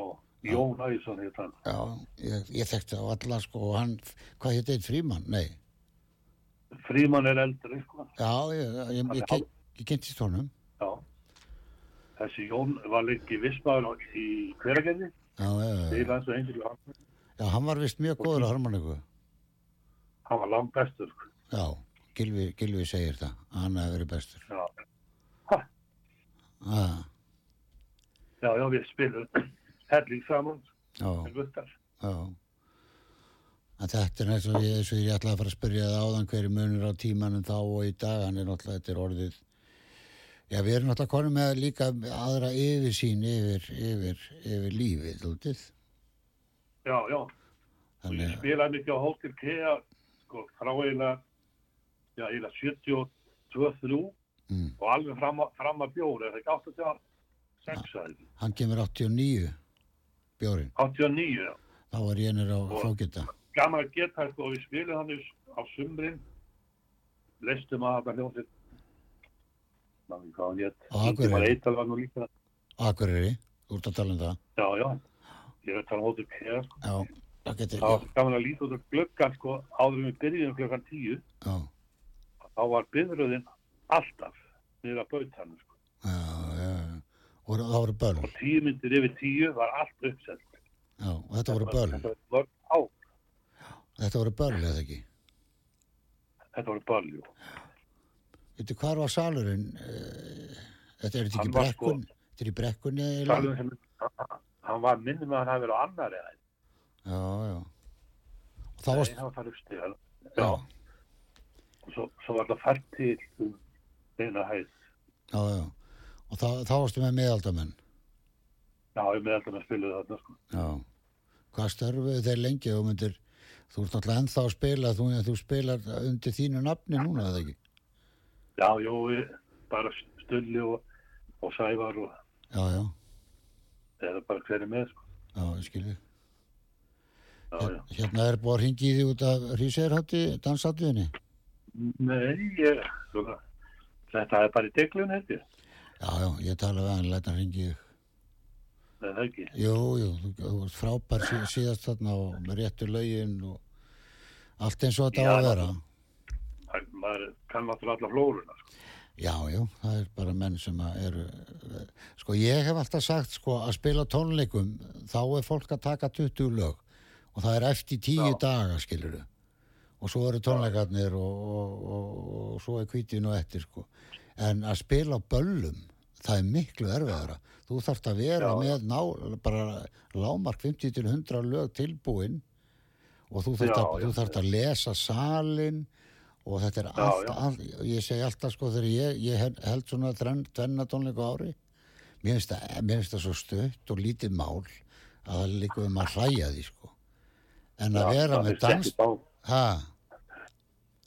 Speaker 4: Jón Ægisson hétt hann
Speaker 3: Já, ég, ég þekkti á alla, sko, og hann, hvað hétt eitt frímann? Nei.
Speaker 4: Fríman er eldri sko
Speaker 3: Já, ég, ég, ég, ég, ég, ég kynntist honum.
Speaker 4: já. þessi Jón var lengi vissmaður á- í hveragerði
Speaker 3: Já, já, já.
Speaker 4: til hans og einnig hann
Speaker 3: Já, hann var vist mjög góður á harmoniku.
Speaker 4: hann var langt bestur sko.
Speaker 3: Já, Gilvi, Gilvi segir það. að Hann hefði verið bestur.
Speaker 4: já.
Speaker 3: Já,
Speaker 4: já, já, við spilum helling saman
Speaker 3: já,
Speaker 4: en guttar
Speaker 3: já. En þetta er næst og ég, eins og ég ætlaði að fara að spyrja það áðan hverju munur á tímanum þá og í dag. Hann er náttúrulega, þetta er orðið. Já, við erum náttúrulega konum með líka aðra yfirsýn yfir, yfir, yfir lífið, þúttið.
Speaker 4: já, já, og ég
Speaker 3: Þannig,
Speaker 4: spilaði mikið á Hotel Kea sko, frá eiginlega já, eiginlega 72-3
Speaker 3: Mm.
Speaker 4: og alveg fram, að- fram að bjóri er það ekki 86 ja.
Speaker 3: hann kemur 89, Bjórin.
Speaker 4: 89 já.
Speaker 3: Þá var ég nýr á
Speaker 4: Og-
Speaker 3: flókita.
Speaker 4: gaman að geta sko, og við spilaði hann í- á sumrin leistum að þetta hljómsið maður ekki hvað hann hétt
Speaker 3: Á Akureyri.
Speaker 4: Ingimar Eital var nú líka
Speaker 3: Akureyri, þú ert að tala um það.
Speaker 4: já, já, ég er að tala um Hotel Kea sko.
Speaker 3: Já, það getur,
Speaker 4: það var gaman að líta út af glöggan sko, áður en við byrjum klukkan 10
Speaker 3: já,
Speaker 4: þá var byrðröðin alltaf niður að bauta hann sko.
Speaker 3: já, já, já. Og það voru börn.
Speaker 4: og tíu myndir yfir tíu var allt uppsett.
Speaker 3: Já, og þetta voru börn.
Speaker 4: Þetta voru börn, á,
Speaker 3: Þetta voru börn, eða ekki?
Speaker 4: þetta voru börn, jú.
Speaker 3: Veitu, hvar var salurinn? eh, Þetta er þetta ekki
Speaker 4: Hann
Speaker 3: í
Speaker 4: var sko-
Speaker 3: brekkun? Þetta er í brekkunni eiginlega?
Speaker 4: Salurinn sem, hann var minnum að hann hafi verið á annari eða.
Speaker 3: Já, já. Og þá
Speaker 4: Nei,
Speaker 3: varst,
Speaker 4: það var farið uppstíðan. Já.
Speaker 3: já,
Speaker 4: Og svo, svo var það fært til um eina hæð.
Speaker 3: já, já. Og þá, þá varstu með miðaldamenn.
Speaker 4: Já, ég með alltaf með spiluð þarna, sko.
Speaker 3: Já. Hvað störfuðu þeir lengi og myndir, þú ert náttúrulega ennþá að spila, þú, þú spilar undir þínu nafni núna, eða ekki?
Speaker 4: Já, jú, við bara stulli og, og sævar og
Speaker 3: Já, já,
Speaker 4: eða bara hverju með, sko.
Speaker 3: já, ég skilji.
Speaker 4: Já, já.
Speaker 3: Hérna er búið að ringi því út af Hrísegirhátti, dansatriðinni.
Speaker 4: Nei, ég, svona, þetta er bara í deglun, held ég.
Speaker 3: Já, já, ég tala við hann, læt hann ringi þig.
Speaker 4: Nei, það er ekki.
Speaker 3: Jú, jú, þú, þú varst frábær sí, síðast þarna og með réttu lögin og allt eins og þetta á
Speaker 4: Já,
Speaker 3: að vera.
Speaker 4: Það- Maður kann náttúrulega alla flóruna, sko.
Speaker 3: Já, jú, það er bara menn sem að eru, eh, sko ég hef alltaf sagt sko að spila á tónleikum þá er fólk að taka 20 lög og það er eftir 10 daga skilur og svo eru tónleikarnir og, og, og, og svo er kvítin og eftir sko. en að spila á böllum það er miklu erfiðara þú þarft að vera
Speaker 4: Já.
Speaker 3: með ná, bara lámark 50-100 lög tilbúin og þú þarft,
Speaker 4: Já,
Speaker 3: að,
Speaker 4: já.
Speaker 3: þú þarft að lesa salin og þetta er
Speaker 4: Já,
Speaker 3: allt,
Speaker 4: já.
Speaker 3: allt ég segi alltaf sko þegar ég, ég hel- held svona tvenn- tvenna tónleika á ári mér finnst það- mér finnst það svo stutt og lítið mál að það er líka um að hlæja því sko en að vera með dans ha,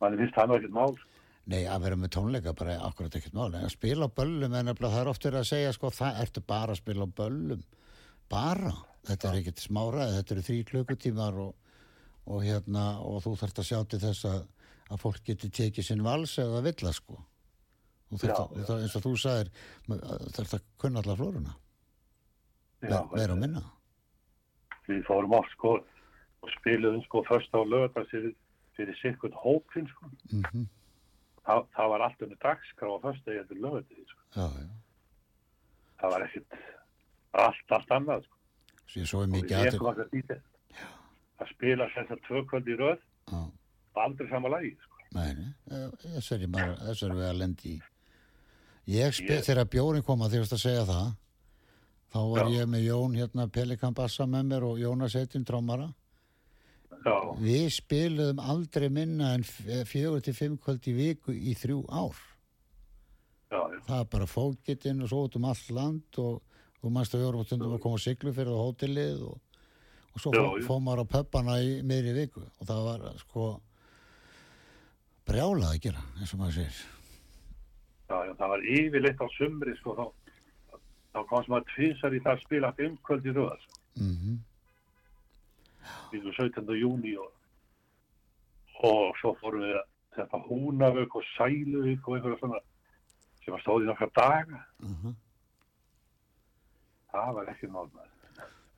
Speaker 4: mann finnst það nú ekkert mál sko.
Speaker 3: nei að vera með tónleika bara er akkurat ekkert mál en að spila á böllum en nefnilega það er oft verið að segja sko það ertu bara að spila á böllum bara, þetta er ekkert smáraði þetta eru þrý klukkutímar og, og hérna og þú þarft að sjá til þess að, að fólk geti tekið sinn vals eða vill það sko Þú þarft
Speaker 4: Já,
Speaker 3: að, þú þarft- eins og þú sagðir maður- þarft að kunna alla flóruna
Speaker 4: Já,
Speaker 3: vera og minna
Speaker 4: við fórum oft sko og spiluðum sko först á lögata fyrir, fyrir sikkert hópin sko.
Speaker 3: mm
Speaker 4: það, það var allt um dagskrá og först eða eftir lögata sko.
Speaker 3: já, já
Speaker 4: það var ekkert allt, allt annað sko.
Speaker 3: Sér svo er
Speaker 4: Og
Speaker 3: mikið
Speaker 4: við
Speaker 3: aðtil
Speaker 4: leikum alltaf í þetta að spila þessar tvökvöld í röð
Speaker 3: Já,
Speaker 4: og aldrei sama lagi sko.
Speaker 3: nei, nei, eh, þessu er ég bara- þessu erum við að lendi í Ég spil,
Speaker 4: Ég-
Speaker 3: þegar bjórin kom að því varst að segja það þá var
Speaker 4: Já.
Speaker 3: ég með Jón hérna Pelikan Bassa með mér og Jónas Eitin Trómara
Speaker 4: já,
Speaker 3: Við spiluðum aldrei minna en f- eh, fjögur til fimm kvöld í viku í þrjú ár
Speaker 4: já, já,
Speaker 3: Það er bara fókitinn og svo út um allt land og þú mannst að við vorum stundum að koma á siglu fyrir á hótelið og, og svo
Speaker 4: Já,
Speaker 3: fó-
Speaker 4: já.
Speaker 3: fór maður á pöppana í miðri viku og það var sko brjálað að gera eins og maður segir
Speaker 4: já, já, það var yfirleitt á sumri sko, þá, þá komst maður tvisar í það að spila umkvöld í röð sko.
Speaker 3: mm
Speaker 4: við 17. júni og, og svo fórum við að þetta húnavík og sæluvík og einhverja svona sem að stóði nokkra daga
Speaker 3: -huh.
Speaker 4: það var ekki málmaður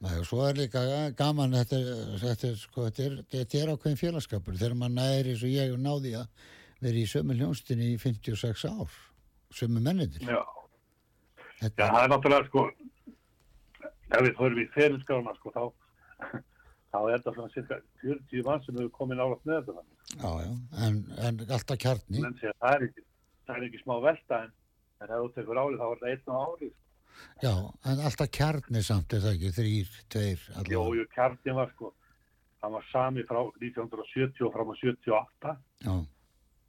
Speaker 3: Nei, og svo er líka gaman þetta, er- þetta, er, sko, þetta, er, þetta er ákveðin félagskapur þegar maður næri eins og ég og náði að vera í sömu hljónstinni í 56 ár sömu mennindir
Speaker 4: já. já,
Speaker 3: þetta,
Speaker 4: það er náttúrulega sko ef við fórum í ferilskrána sko þá þá er þetta svona cirka 40 mann sem hefur komið nálaft með þetta
Speaker 3: já, já, en, en alltaf kjarni
Speaker 4: menn segja það er ekki það er ekki smá velta en, en ef þú tekur árið þá er þetta einn á árið
Speaker 3: já, en alltaf kjarni samt er það ekki, þrýr, tveir
Speaker 4: Jó,
Speaker 3: allavega.
Speaker 4: jú, kjartin var sko hann var sami frá 1970 og fram á 78
Speaker 3: já,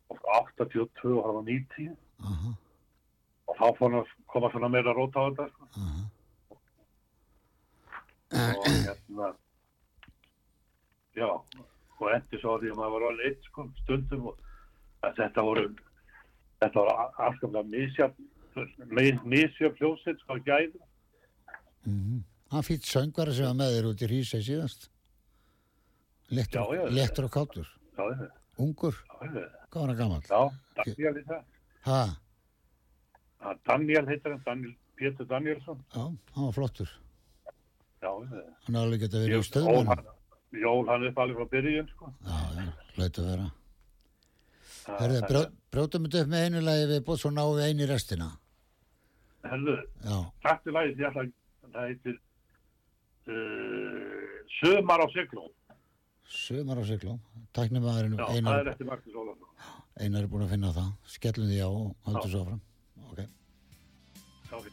Speaker 4: og frá 82 og fram á 90
Speaker 3: aha,
Speaker 4: og þá fór hann að koma svona meira rót á þetta sko.
Speaker 3: aha
Speaker 4: og hérna já og endi svo á því að maður var alveg eitt sko, stundum og að þetta voru þetta voru a- afskaplega misjöf misjöf hljóðsett sko gæð
Speaker 3: mm hann fýtt söngvari sem var með þér út í Rísei síðast lettur,
Speaker 4: Já, já, já.
Speaker 3: lettur og kátur
Speaker 4: já, já,
Speaker 3: ungur,
Speaker 4: já,
Speaker 3: hvað var hann gamall
Speaker 4: já, Daniel í það
Speaker 3: ha,
Speaker 4: Hann Daniel heitir hann, Daniel Pétur Danielsson
Speaker 3: já, hann var flottur
Speaker 4: já, já,
Speaker 3: hann er alveg geta verið í
Speaker 4: Jól
Speaker 3: stöðmennum
Speaker 4: hann- jól hann upp alveg frá byrjun sko
Speaker 3: Já, já, hlaut að vera.
Speaker 4: Það-
Speaker 3: Herðu,
Speaker 4: það-
Speaker 3: brjó- brjótum þetta upp með einu lagi við búið svo náum við einu í restina.
Speaker 4: herðu,
Speaker 3: Já,
Speaker 4: takk til lagið því að það heitir uh, Sumar á Siglum
Speaker 3: sömar á siglum. Tæknum aðurinn,
Speaker 4: Já, það er
Speaker 3: einar,
Speaker 4: eftir Magnús Ólafsson.
Speaker 3: einar er búin að finna það. Skellum því á og höldum
Speaker 4: Já.
Speaker 3: svo áfram. Ok.
Speaker 4: Já, ok.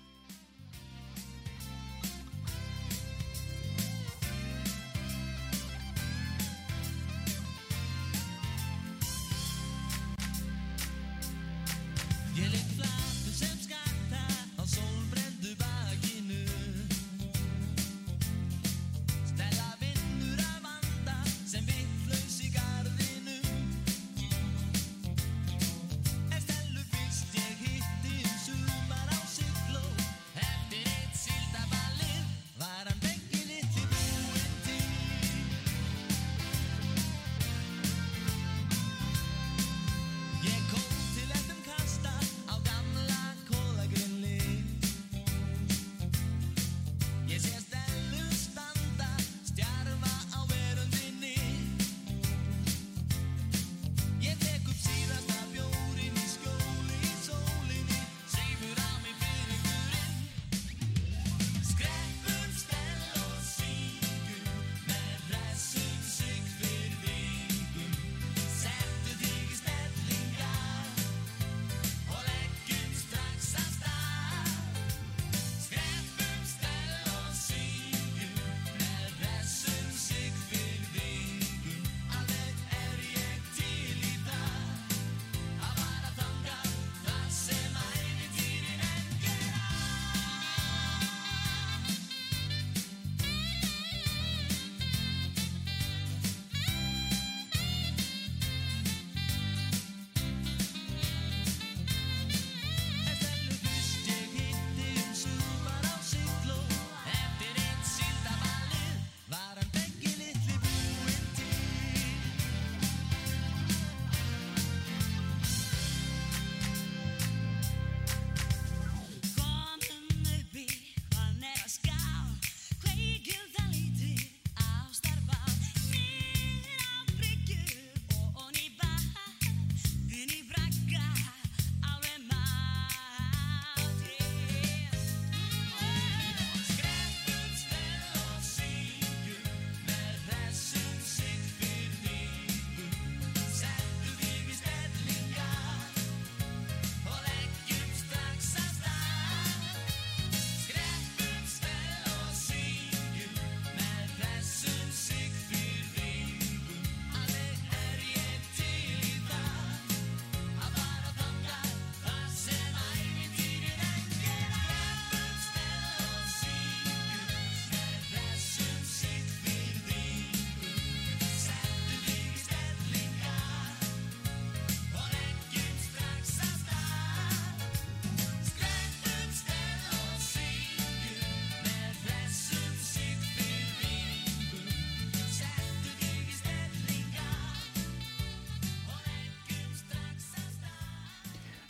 Speaker 5: Ég leitt flatur sem skatta á sólbrendu bakinu Stella vinnur að vanda sem vittlaus í gardinu En stellu fyrst ég hitti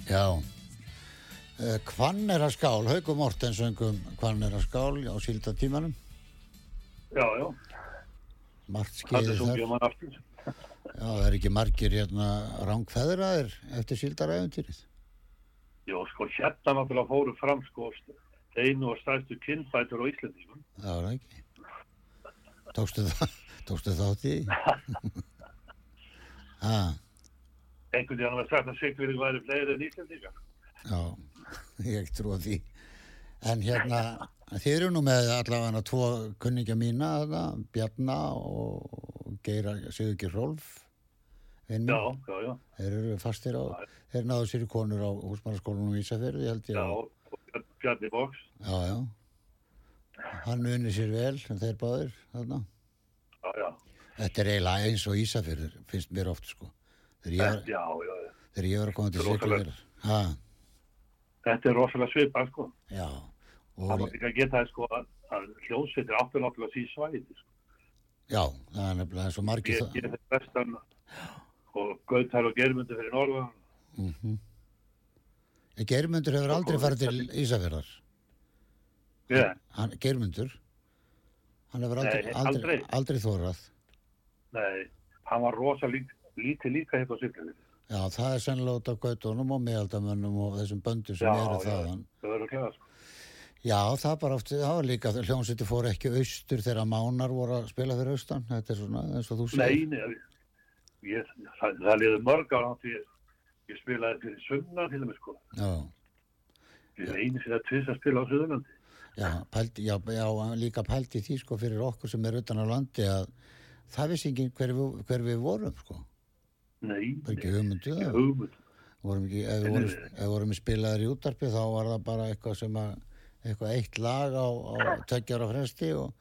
Speaker 3: Já. Eh, Hvann er að skál, Hauku Morten söngum Hvann er að skál á síldatímanum.
Speaker 4: Já, já,
Speaker 3: Margt
Speaker 4: hann
Speaker 3: skeiði
Speaker 4: er
Speaker 3: þar.
Speaker 4: sungið um hann aftur.
Speaker 3: Já, það er ekki margir hérna rángfeðraðir eftir síldaræfintýrið.
Speaker 4: Jó, sko, hérna náttúrulega fóru fram, sko, st- einu og stærstu kynfætur á Íslandingum.
Speaker 3: Já, er það ekki. Tókstu, það, <laughs> tókstu þátt
Speaker 4: <laughs>
Speaker 3: í? Ha,
Speaker 4: Einhvern veginn var sagt að Sigfyrðing væri fleiri en Íslandingar.
Speaker 3: já, <laughs> ég trúa því. En hérna, þið eru nú með allavega tvo kunningja mína, þarna, Bjarna og Geira Sigurgir Rolf.
Speaker 4: Já, já, já,
Speaker 3: Þeir eru fastir á, þeir náðu sér í konur á húsmannskólanum í Ísafjörði, held ég.
Speaker 4: já, og Bjarn- Bjarni Bóks.
Speaker 3: Já, já. Hann unni sér vel, þeir báðir, þarna.
Speaker 4: Já, já,
Speaker 3: Þetta er eiginlega eins og Ísafjörður, finnst mér oft, sko. Þegar ég var,
Speaker 4: já, já, já.
Speaker 3: þegar ég var að koma til
Speaker 4: Þetta er rosalegt.
Speaker 3: Siglufjörður. Ha,
Speaker 4: Þetta er rosalega svipað, sko.
Speaker 3: já.
Speaker 4: Það
Speaker 3: Og,
Speaker 4: var líka að geta það, sko, að, að hljóðsveitir áttu náttúrulega síð svæði, sko.
Speaker 3: já, það er nefnilega svo margir
Speaker 4: Ég,
Speaker 3: það.
Speaker 4: ég er þess vestan og Gautar og Germundur fyrir Norðan.
Speaker 3: Mhm. Geirmundur hefur aldrei
Speaker 4: Og-
Speaker 3: farið til Ísafjörðar.
Speaker 4: Yeah.
Speaker 3: Hann, Geirmundur, hann hefur aldrei,
Speaker 4: Nei,
Speaker 3: aldrei, aldrei.
Speaker 4: aldrei.
Speaker 3: þórað.
Speaker 4: Nei, hann var rosa lík, lítið líka hérna á Sigfyrðing.
Speaker 3: Já, það er sennilega út af gautunum og meðaldamönnum og þessum böndum sem
Speaker 4: Já,
Speaker 3: eru
Speaker 4: já.
Speaker 3: þaðan.
Speaker 4: Það verður klæða, sko.
Speaker 3: Já, það bara oft, það var líka, hljómsveitir fór ekki austur þegar mánar voru að spila fyrir austan, þetta er svona eins og þú segir.
Speaker 4: Nei, nei, ég, það, það liði mörg ára átti ég, ég spilaði fyrir Sunna til þeim, sko.
Speaker 3: Já,
Speaker 4: Ég er einu fyrir að tvisa að spila á Suðurlandi.
Speaker 3: já, pældi, já, já, líka pældi í því sko fyrir okkur sem er utan á landi að það vissi ekki hver, við- hver við vorum sko,
Speaker 4: Nei,
Speaker 3: það er ekki hugmyndu
Speaker 4: ég
Speaker 3: það.
Speaker 4: hugmynd.
Speaker 3: Vorum ekki, ef við
Speaker 4: Nei,
Speaker 3: vorum,
Speaker 4: nei, nei.
Speaker 3: ef við vorum spilaðir í útarpi þá var það bara eitthvað sem að, eitthvað eitt lag á, á tökjar á fresti og,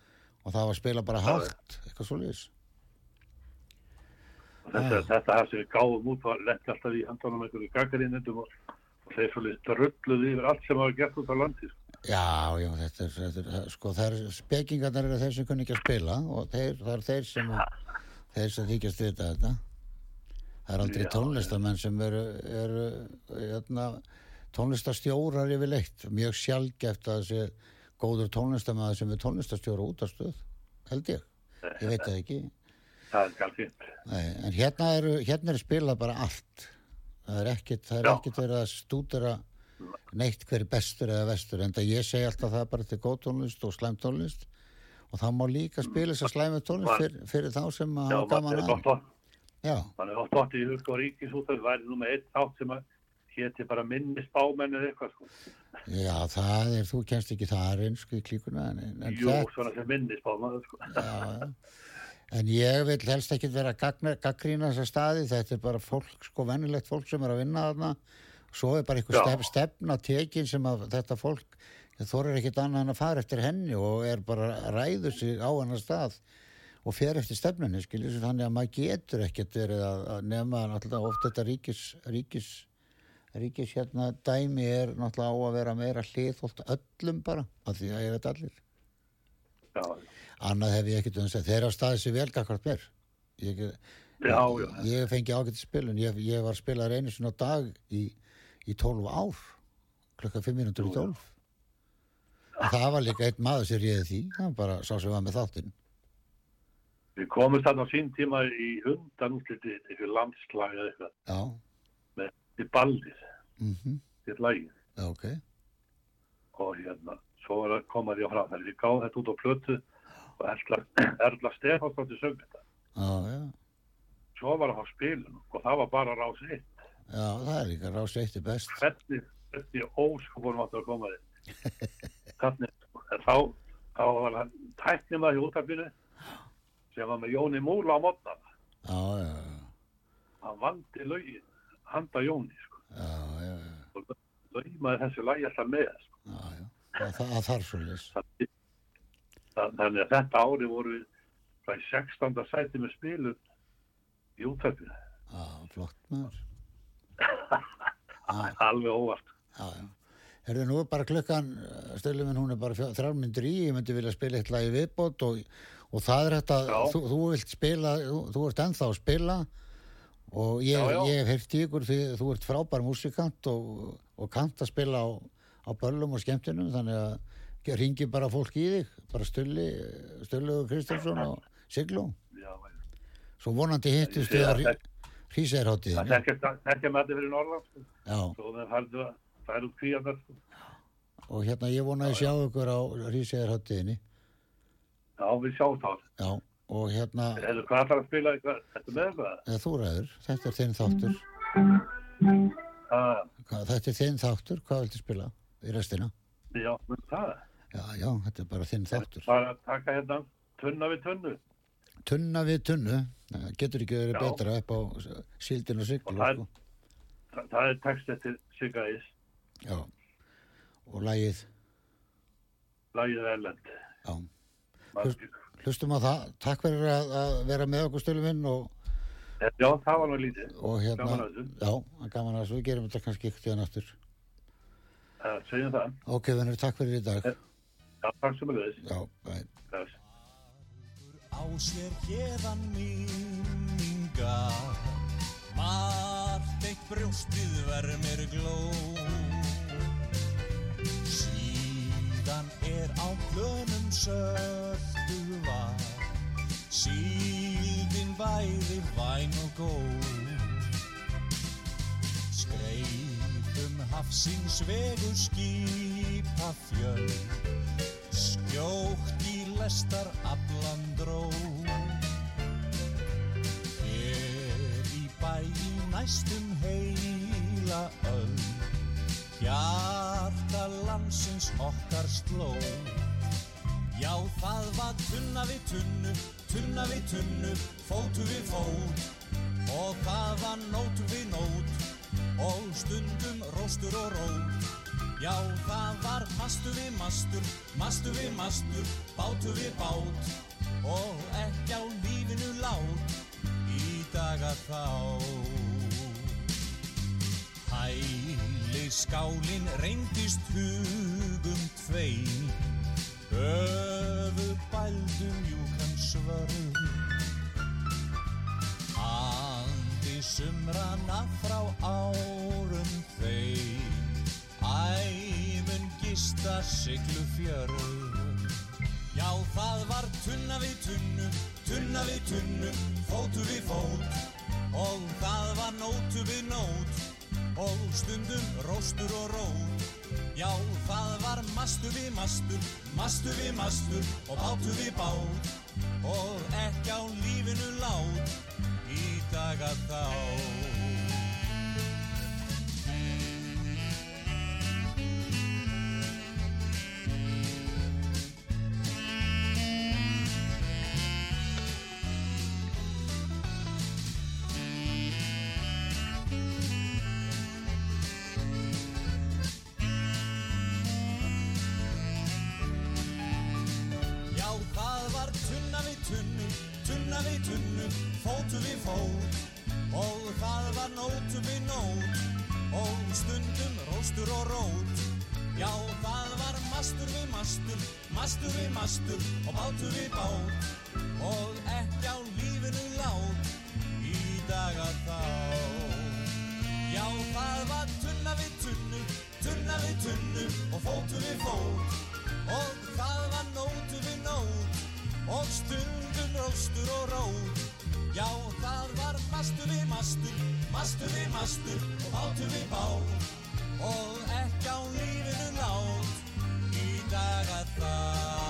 Speaker 3: og það var að spila bara hátt, eitthvað svoleiðis.
Speaker 4: Þetta,
Speaker 3: Ah.
Speaker 4: þetta það sem við gáðum út var lett alltaf í handónum einhverju gagarinnendum og, og þeir svolítið drulluði yfir allt sem hafa gert út á landi, sko.
Speaker 3: Já, já, þetta er, þetta er það- sko, það er, spekingarnar eru þeir sem kunni ekki að spila og þeir, það eru þeir sem, þeir sem þykjast vita þetta. Það er aldrei
Speaker 4: Já,
Speaker 3: tónlistamenn sem eru, eru, jötna, tónlistastjórar yfirleitt, mjög sjálfgeft að þessi góður tónlistamenn sem er tónlistastjóra út af stöð, held ég, ég veit það ekki.
Speaker 4: Það er galfint.
Speaker 3: Nei, en hérna eru, hérna eru spilað bara allt, það er ekkit, það er
Speaker 4: Já.
Speaker 3: ekkit verið að stúdera neitt hver er bestur eða vestur en það ég segi alltaf það er bara til góð tónlist og slæm tónlist og það má líka spila þess að slæmi tónlist
Speaker 4: Man-
Speaker 3: fyrir, fyrir þá sem að
Speaker 4: Já,
Speaker 3: hafa Ah, gaman
Speaker 4: mann er
Speaker 3: að
Speaker 4: gott að.
Speaker 3: já,
Speaker 4: Þannig að það í hug og ríkisútaf væri nú með eitt átt sem að héti bara minni spámenn eða eitthvað sko.
Speaker 3: já, það er, þú kennst ekki þar eins í klíkuna en, en, en
Speaker 4: Jú,
Speaker 3: það,
Speaker 4: svona sem minni spámenn sko.
Speaker 3: já, já. en ég vil helst ekki vera að gaggrína þessa staði þetta er bara fólk, sko venilegt fólk sem er að vinna þarna svo er bara einhver
Speaker 4: Já.
Speaker 3: stef, stefna tekin sem að þetta fólk þorir ekkit annað en að fara eftir henni og er bara að ræðu sig á hennar stað og fer eftir stefnunni skiljið sem þannig að maður getur ekkert verið að, að nefna náttúrulega oft þetta ríkis ríkis, ríkis hérna dæmi er náttúrulega á að vera meira hliðholt öllum bara af því að ég veit allir
Speaker 4: Já,
Speaker 3: annað hef ég ekkert um þess að þeirra staði sér vel gakvart mér ég,
Speaker 4: já, já.
Speaker 3: ég fengi ágætt spilun ég, ég var spilaður einu sinna dag í, í 12 ár klukka 5 minútur í 12 en það var líka einn maður sem réði því það var bara sá sem var með þáttinn
Speaker 4: Við komumst þarna á sín tíma í undan útliti eitthvað landslag eða eitthvað
Speaker 3: já,
Speaker 4: í ballið,
Speaker 3: mhm,
Speaker 4: í lagið
Speaker 3: já, ok
Speaker 4: og hérna, svo var að koma því á frá þar. Við gáðum þetta út á plötu og Erla, <clears throat> Erla Stefánsdóttir söng þetta.
Speaker 3: já, já
Speaker 4: Svo var það á spilun og það var bara rás eitt.
Speaker 3: Já, það er líka rási eitt er best.
Speaker 4: hvernig, hvernig óskopunum áttu að koma þig þannig en þá, þá var hann tæknum að í útafinu sem var með Jóni Múla á mótnan
Speaker 3: Já, já, já,
Speaker 4: hann vandi lögin, handa Jóni sko.
Speaker 3: já, já, já,
Speaker 4: og lögmaði þessu lagi alltaf með sko.
Speaker 3: já, já. Það, það, það þarf svo leys.
Speaker 4: þannig, þannig að þetta ári voru við frá 16. sæti með spilum í útafinu
Speaker 3: Já, flott maður.
Speaker 4: alveg óvart
Speaker 3: Já, já. Herðu, nú er bara klukkan, stöðluminn, hún er bara fjó- þrjár myndir í, ég myndi vilja spila eitt lag í viðbót og, og það er þetta,
Speaker 4: Já.
Speaker 3: þú, þú vilt spila, þú, þú ert ennþá að spila og ég,
Speaker 4: Já, já.
Speaker 3: ég hef heyrt í ykkur því þú ert frábær músikant og, og kant að spila á, á böllum og skemmtunum þannig að ringi bara fólk í þig bara Stulli, Stulli og Kristjánsson og Sigló
Speaker 4: Já,
Speaker 3: svo vonandi hittist
Speaker 4: Ég sé
Speaker 3: við á
Speaker 4: það. það
Speaker 3: hrísæðirháttiðinu
Speaker 4: þekkja þekkja með þetta fyrir norðan sko.
Speaker 3: já,
Speaker 4: svo þeir færðu að færa út kvíarnar sko.
Speaker 3: og hérna ég vona að ég sjá ykkur á hrísæðirháttiðinu
Speaker 4: já, við sjáum þá
Speaker 3: já, og hérna
Speaker 4: Hefðu, hvað ætlar að spila? Hvað- Ertu með það?
Speaker 3: eða þú ræður, þetta er þinn þáttur
Speaker 4: Mhm. Ah,
Speaker 3: Hvað- þetta er þinn þáttur, hvað viltu spila í restina?
Speaker 4: já, menn það.
Speaker 3: Já, já, þetta er bara þinn þáttur
Speaker 4: Bara að taka hérna tunna við tunnu.
Speaker 3: tunna við tunnu, það getur ekki verið
Speaker 4: Já.
Speaker 3: betra upp á síldin og siglu
Speaker 4: Og það er-
Speaker 3: sko.
Speaker 4: Þa, það er text eftir Sigga Ís,
Speaker 3: já, og lægið
Speaker 4: lagið er Erlend.
Speaker 3: já,
Speaker 4: Maður-
Speaker 3: hlustum á það takk fyrir að, að vera með okkur stöluminn og,
Speaker 4: Já, það var nú lítið.
Speaker 3: og hérna
Speaker 4: Gaman að þessu.
Speaker 3: já, gaman að þessu, við gerum þetta kannski ykkur tíðan aftur
Speaker 4: Það segjum það.
Speaker 3: ok, vinnur, takk fyrir í dag
Speaker 4: Já, takk sem að þess.
Speaker 3: já, bæ.
Speaker 4: Þess.
Speaker 5: á sér hérðan minninga margt eitt brjóstið vermir gló síðan er á plönum söldu var síldin væði væn og góð skreifum hafsins vegu skipa fjöld skjótt í lestar aflan dró hér í bæ í næstum heila öll hjarta landsins okkar sló já það var tunna við tunnu tunna við tunnu fótu við fót og það var nót við nót og stundum róstur og rót Já, það var mastu við mastur, mastu við mastur, bátu við bát og ekki á lífinu lát í daga þá. Hæli skálin reyndist hugum tvei, öfu bældum júkan svörð. Andi sumrana frá árum þeim Æmun gista siglu fjörð Já, það var tunna við tunnu, tunna við tunnu, fótu við fót Og það var nótu við nót og stundum róstur og rót Já, það var mastu við mastur, mastu við mastur og bátu við bát Og ekki á lífinu lát í daga þá Já, það var tunna við tunnu, tunna við tunnu, fótu við fót Og það var nótu við nót, og stundum róstur og rót Já, það var mastur við mastur, mastur við mastur og bátu við bát Og ekki á lífinu lát í daga þá Já, það var tunna við tunnu, tunna við tunnu og fótu við fót Og það var nótu við nót og stundum róstur og rót Já, það var mastu við mastu, mastu við mastu og fátu við bát Og ekki á lífinu lát í daga það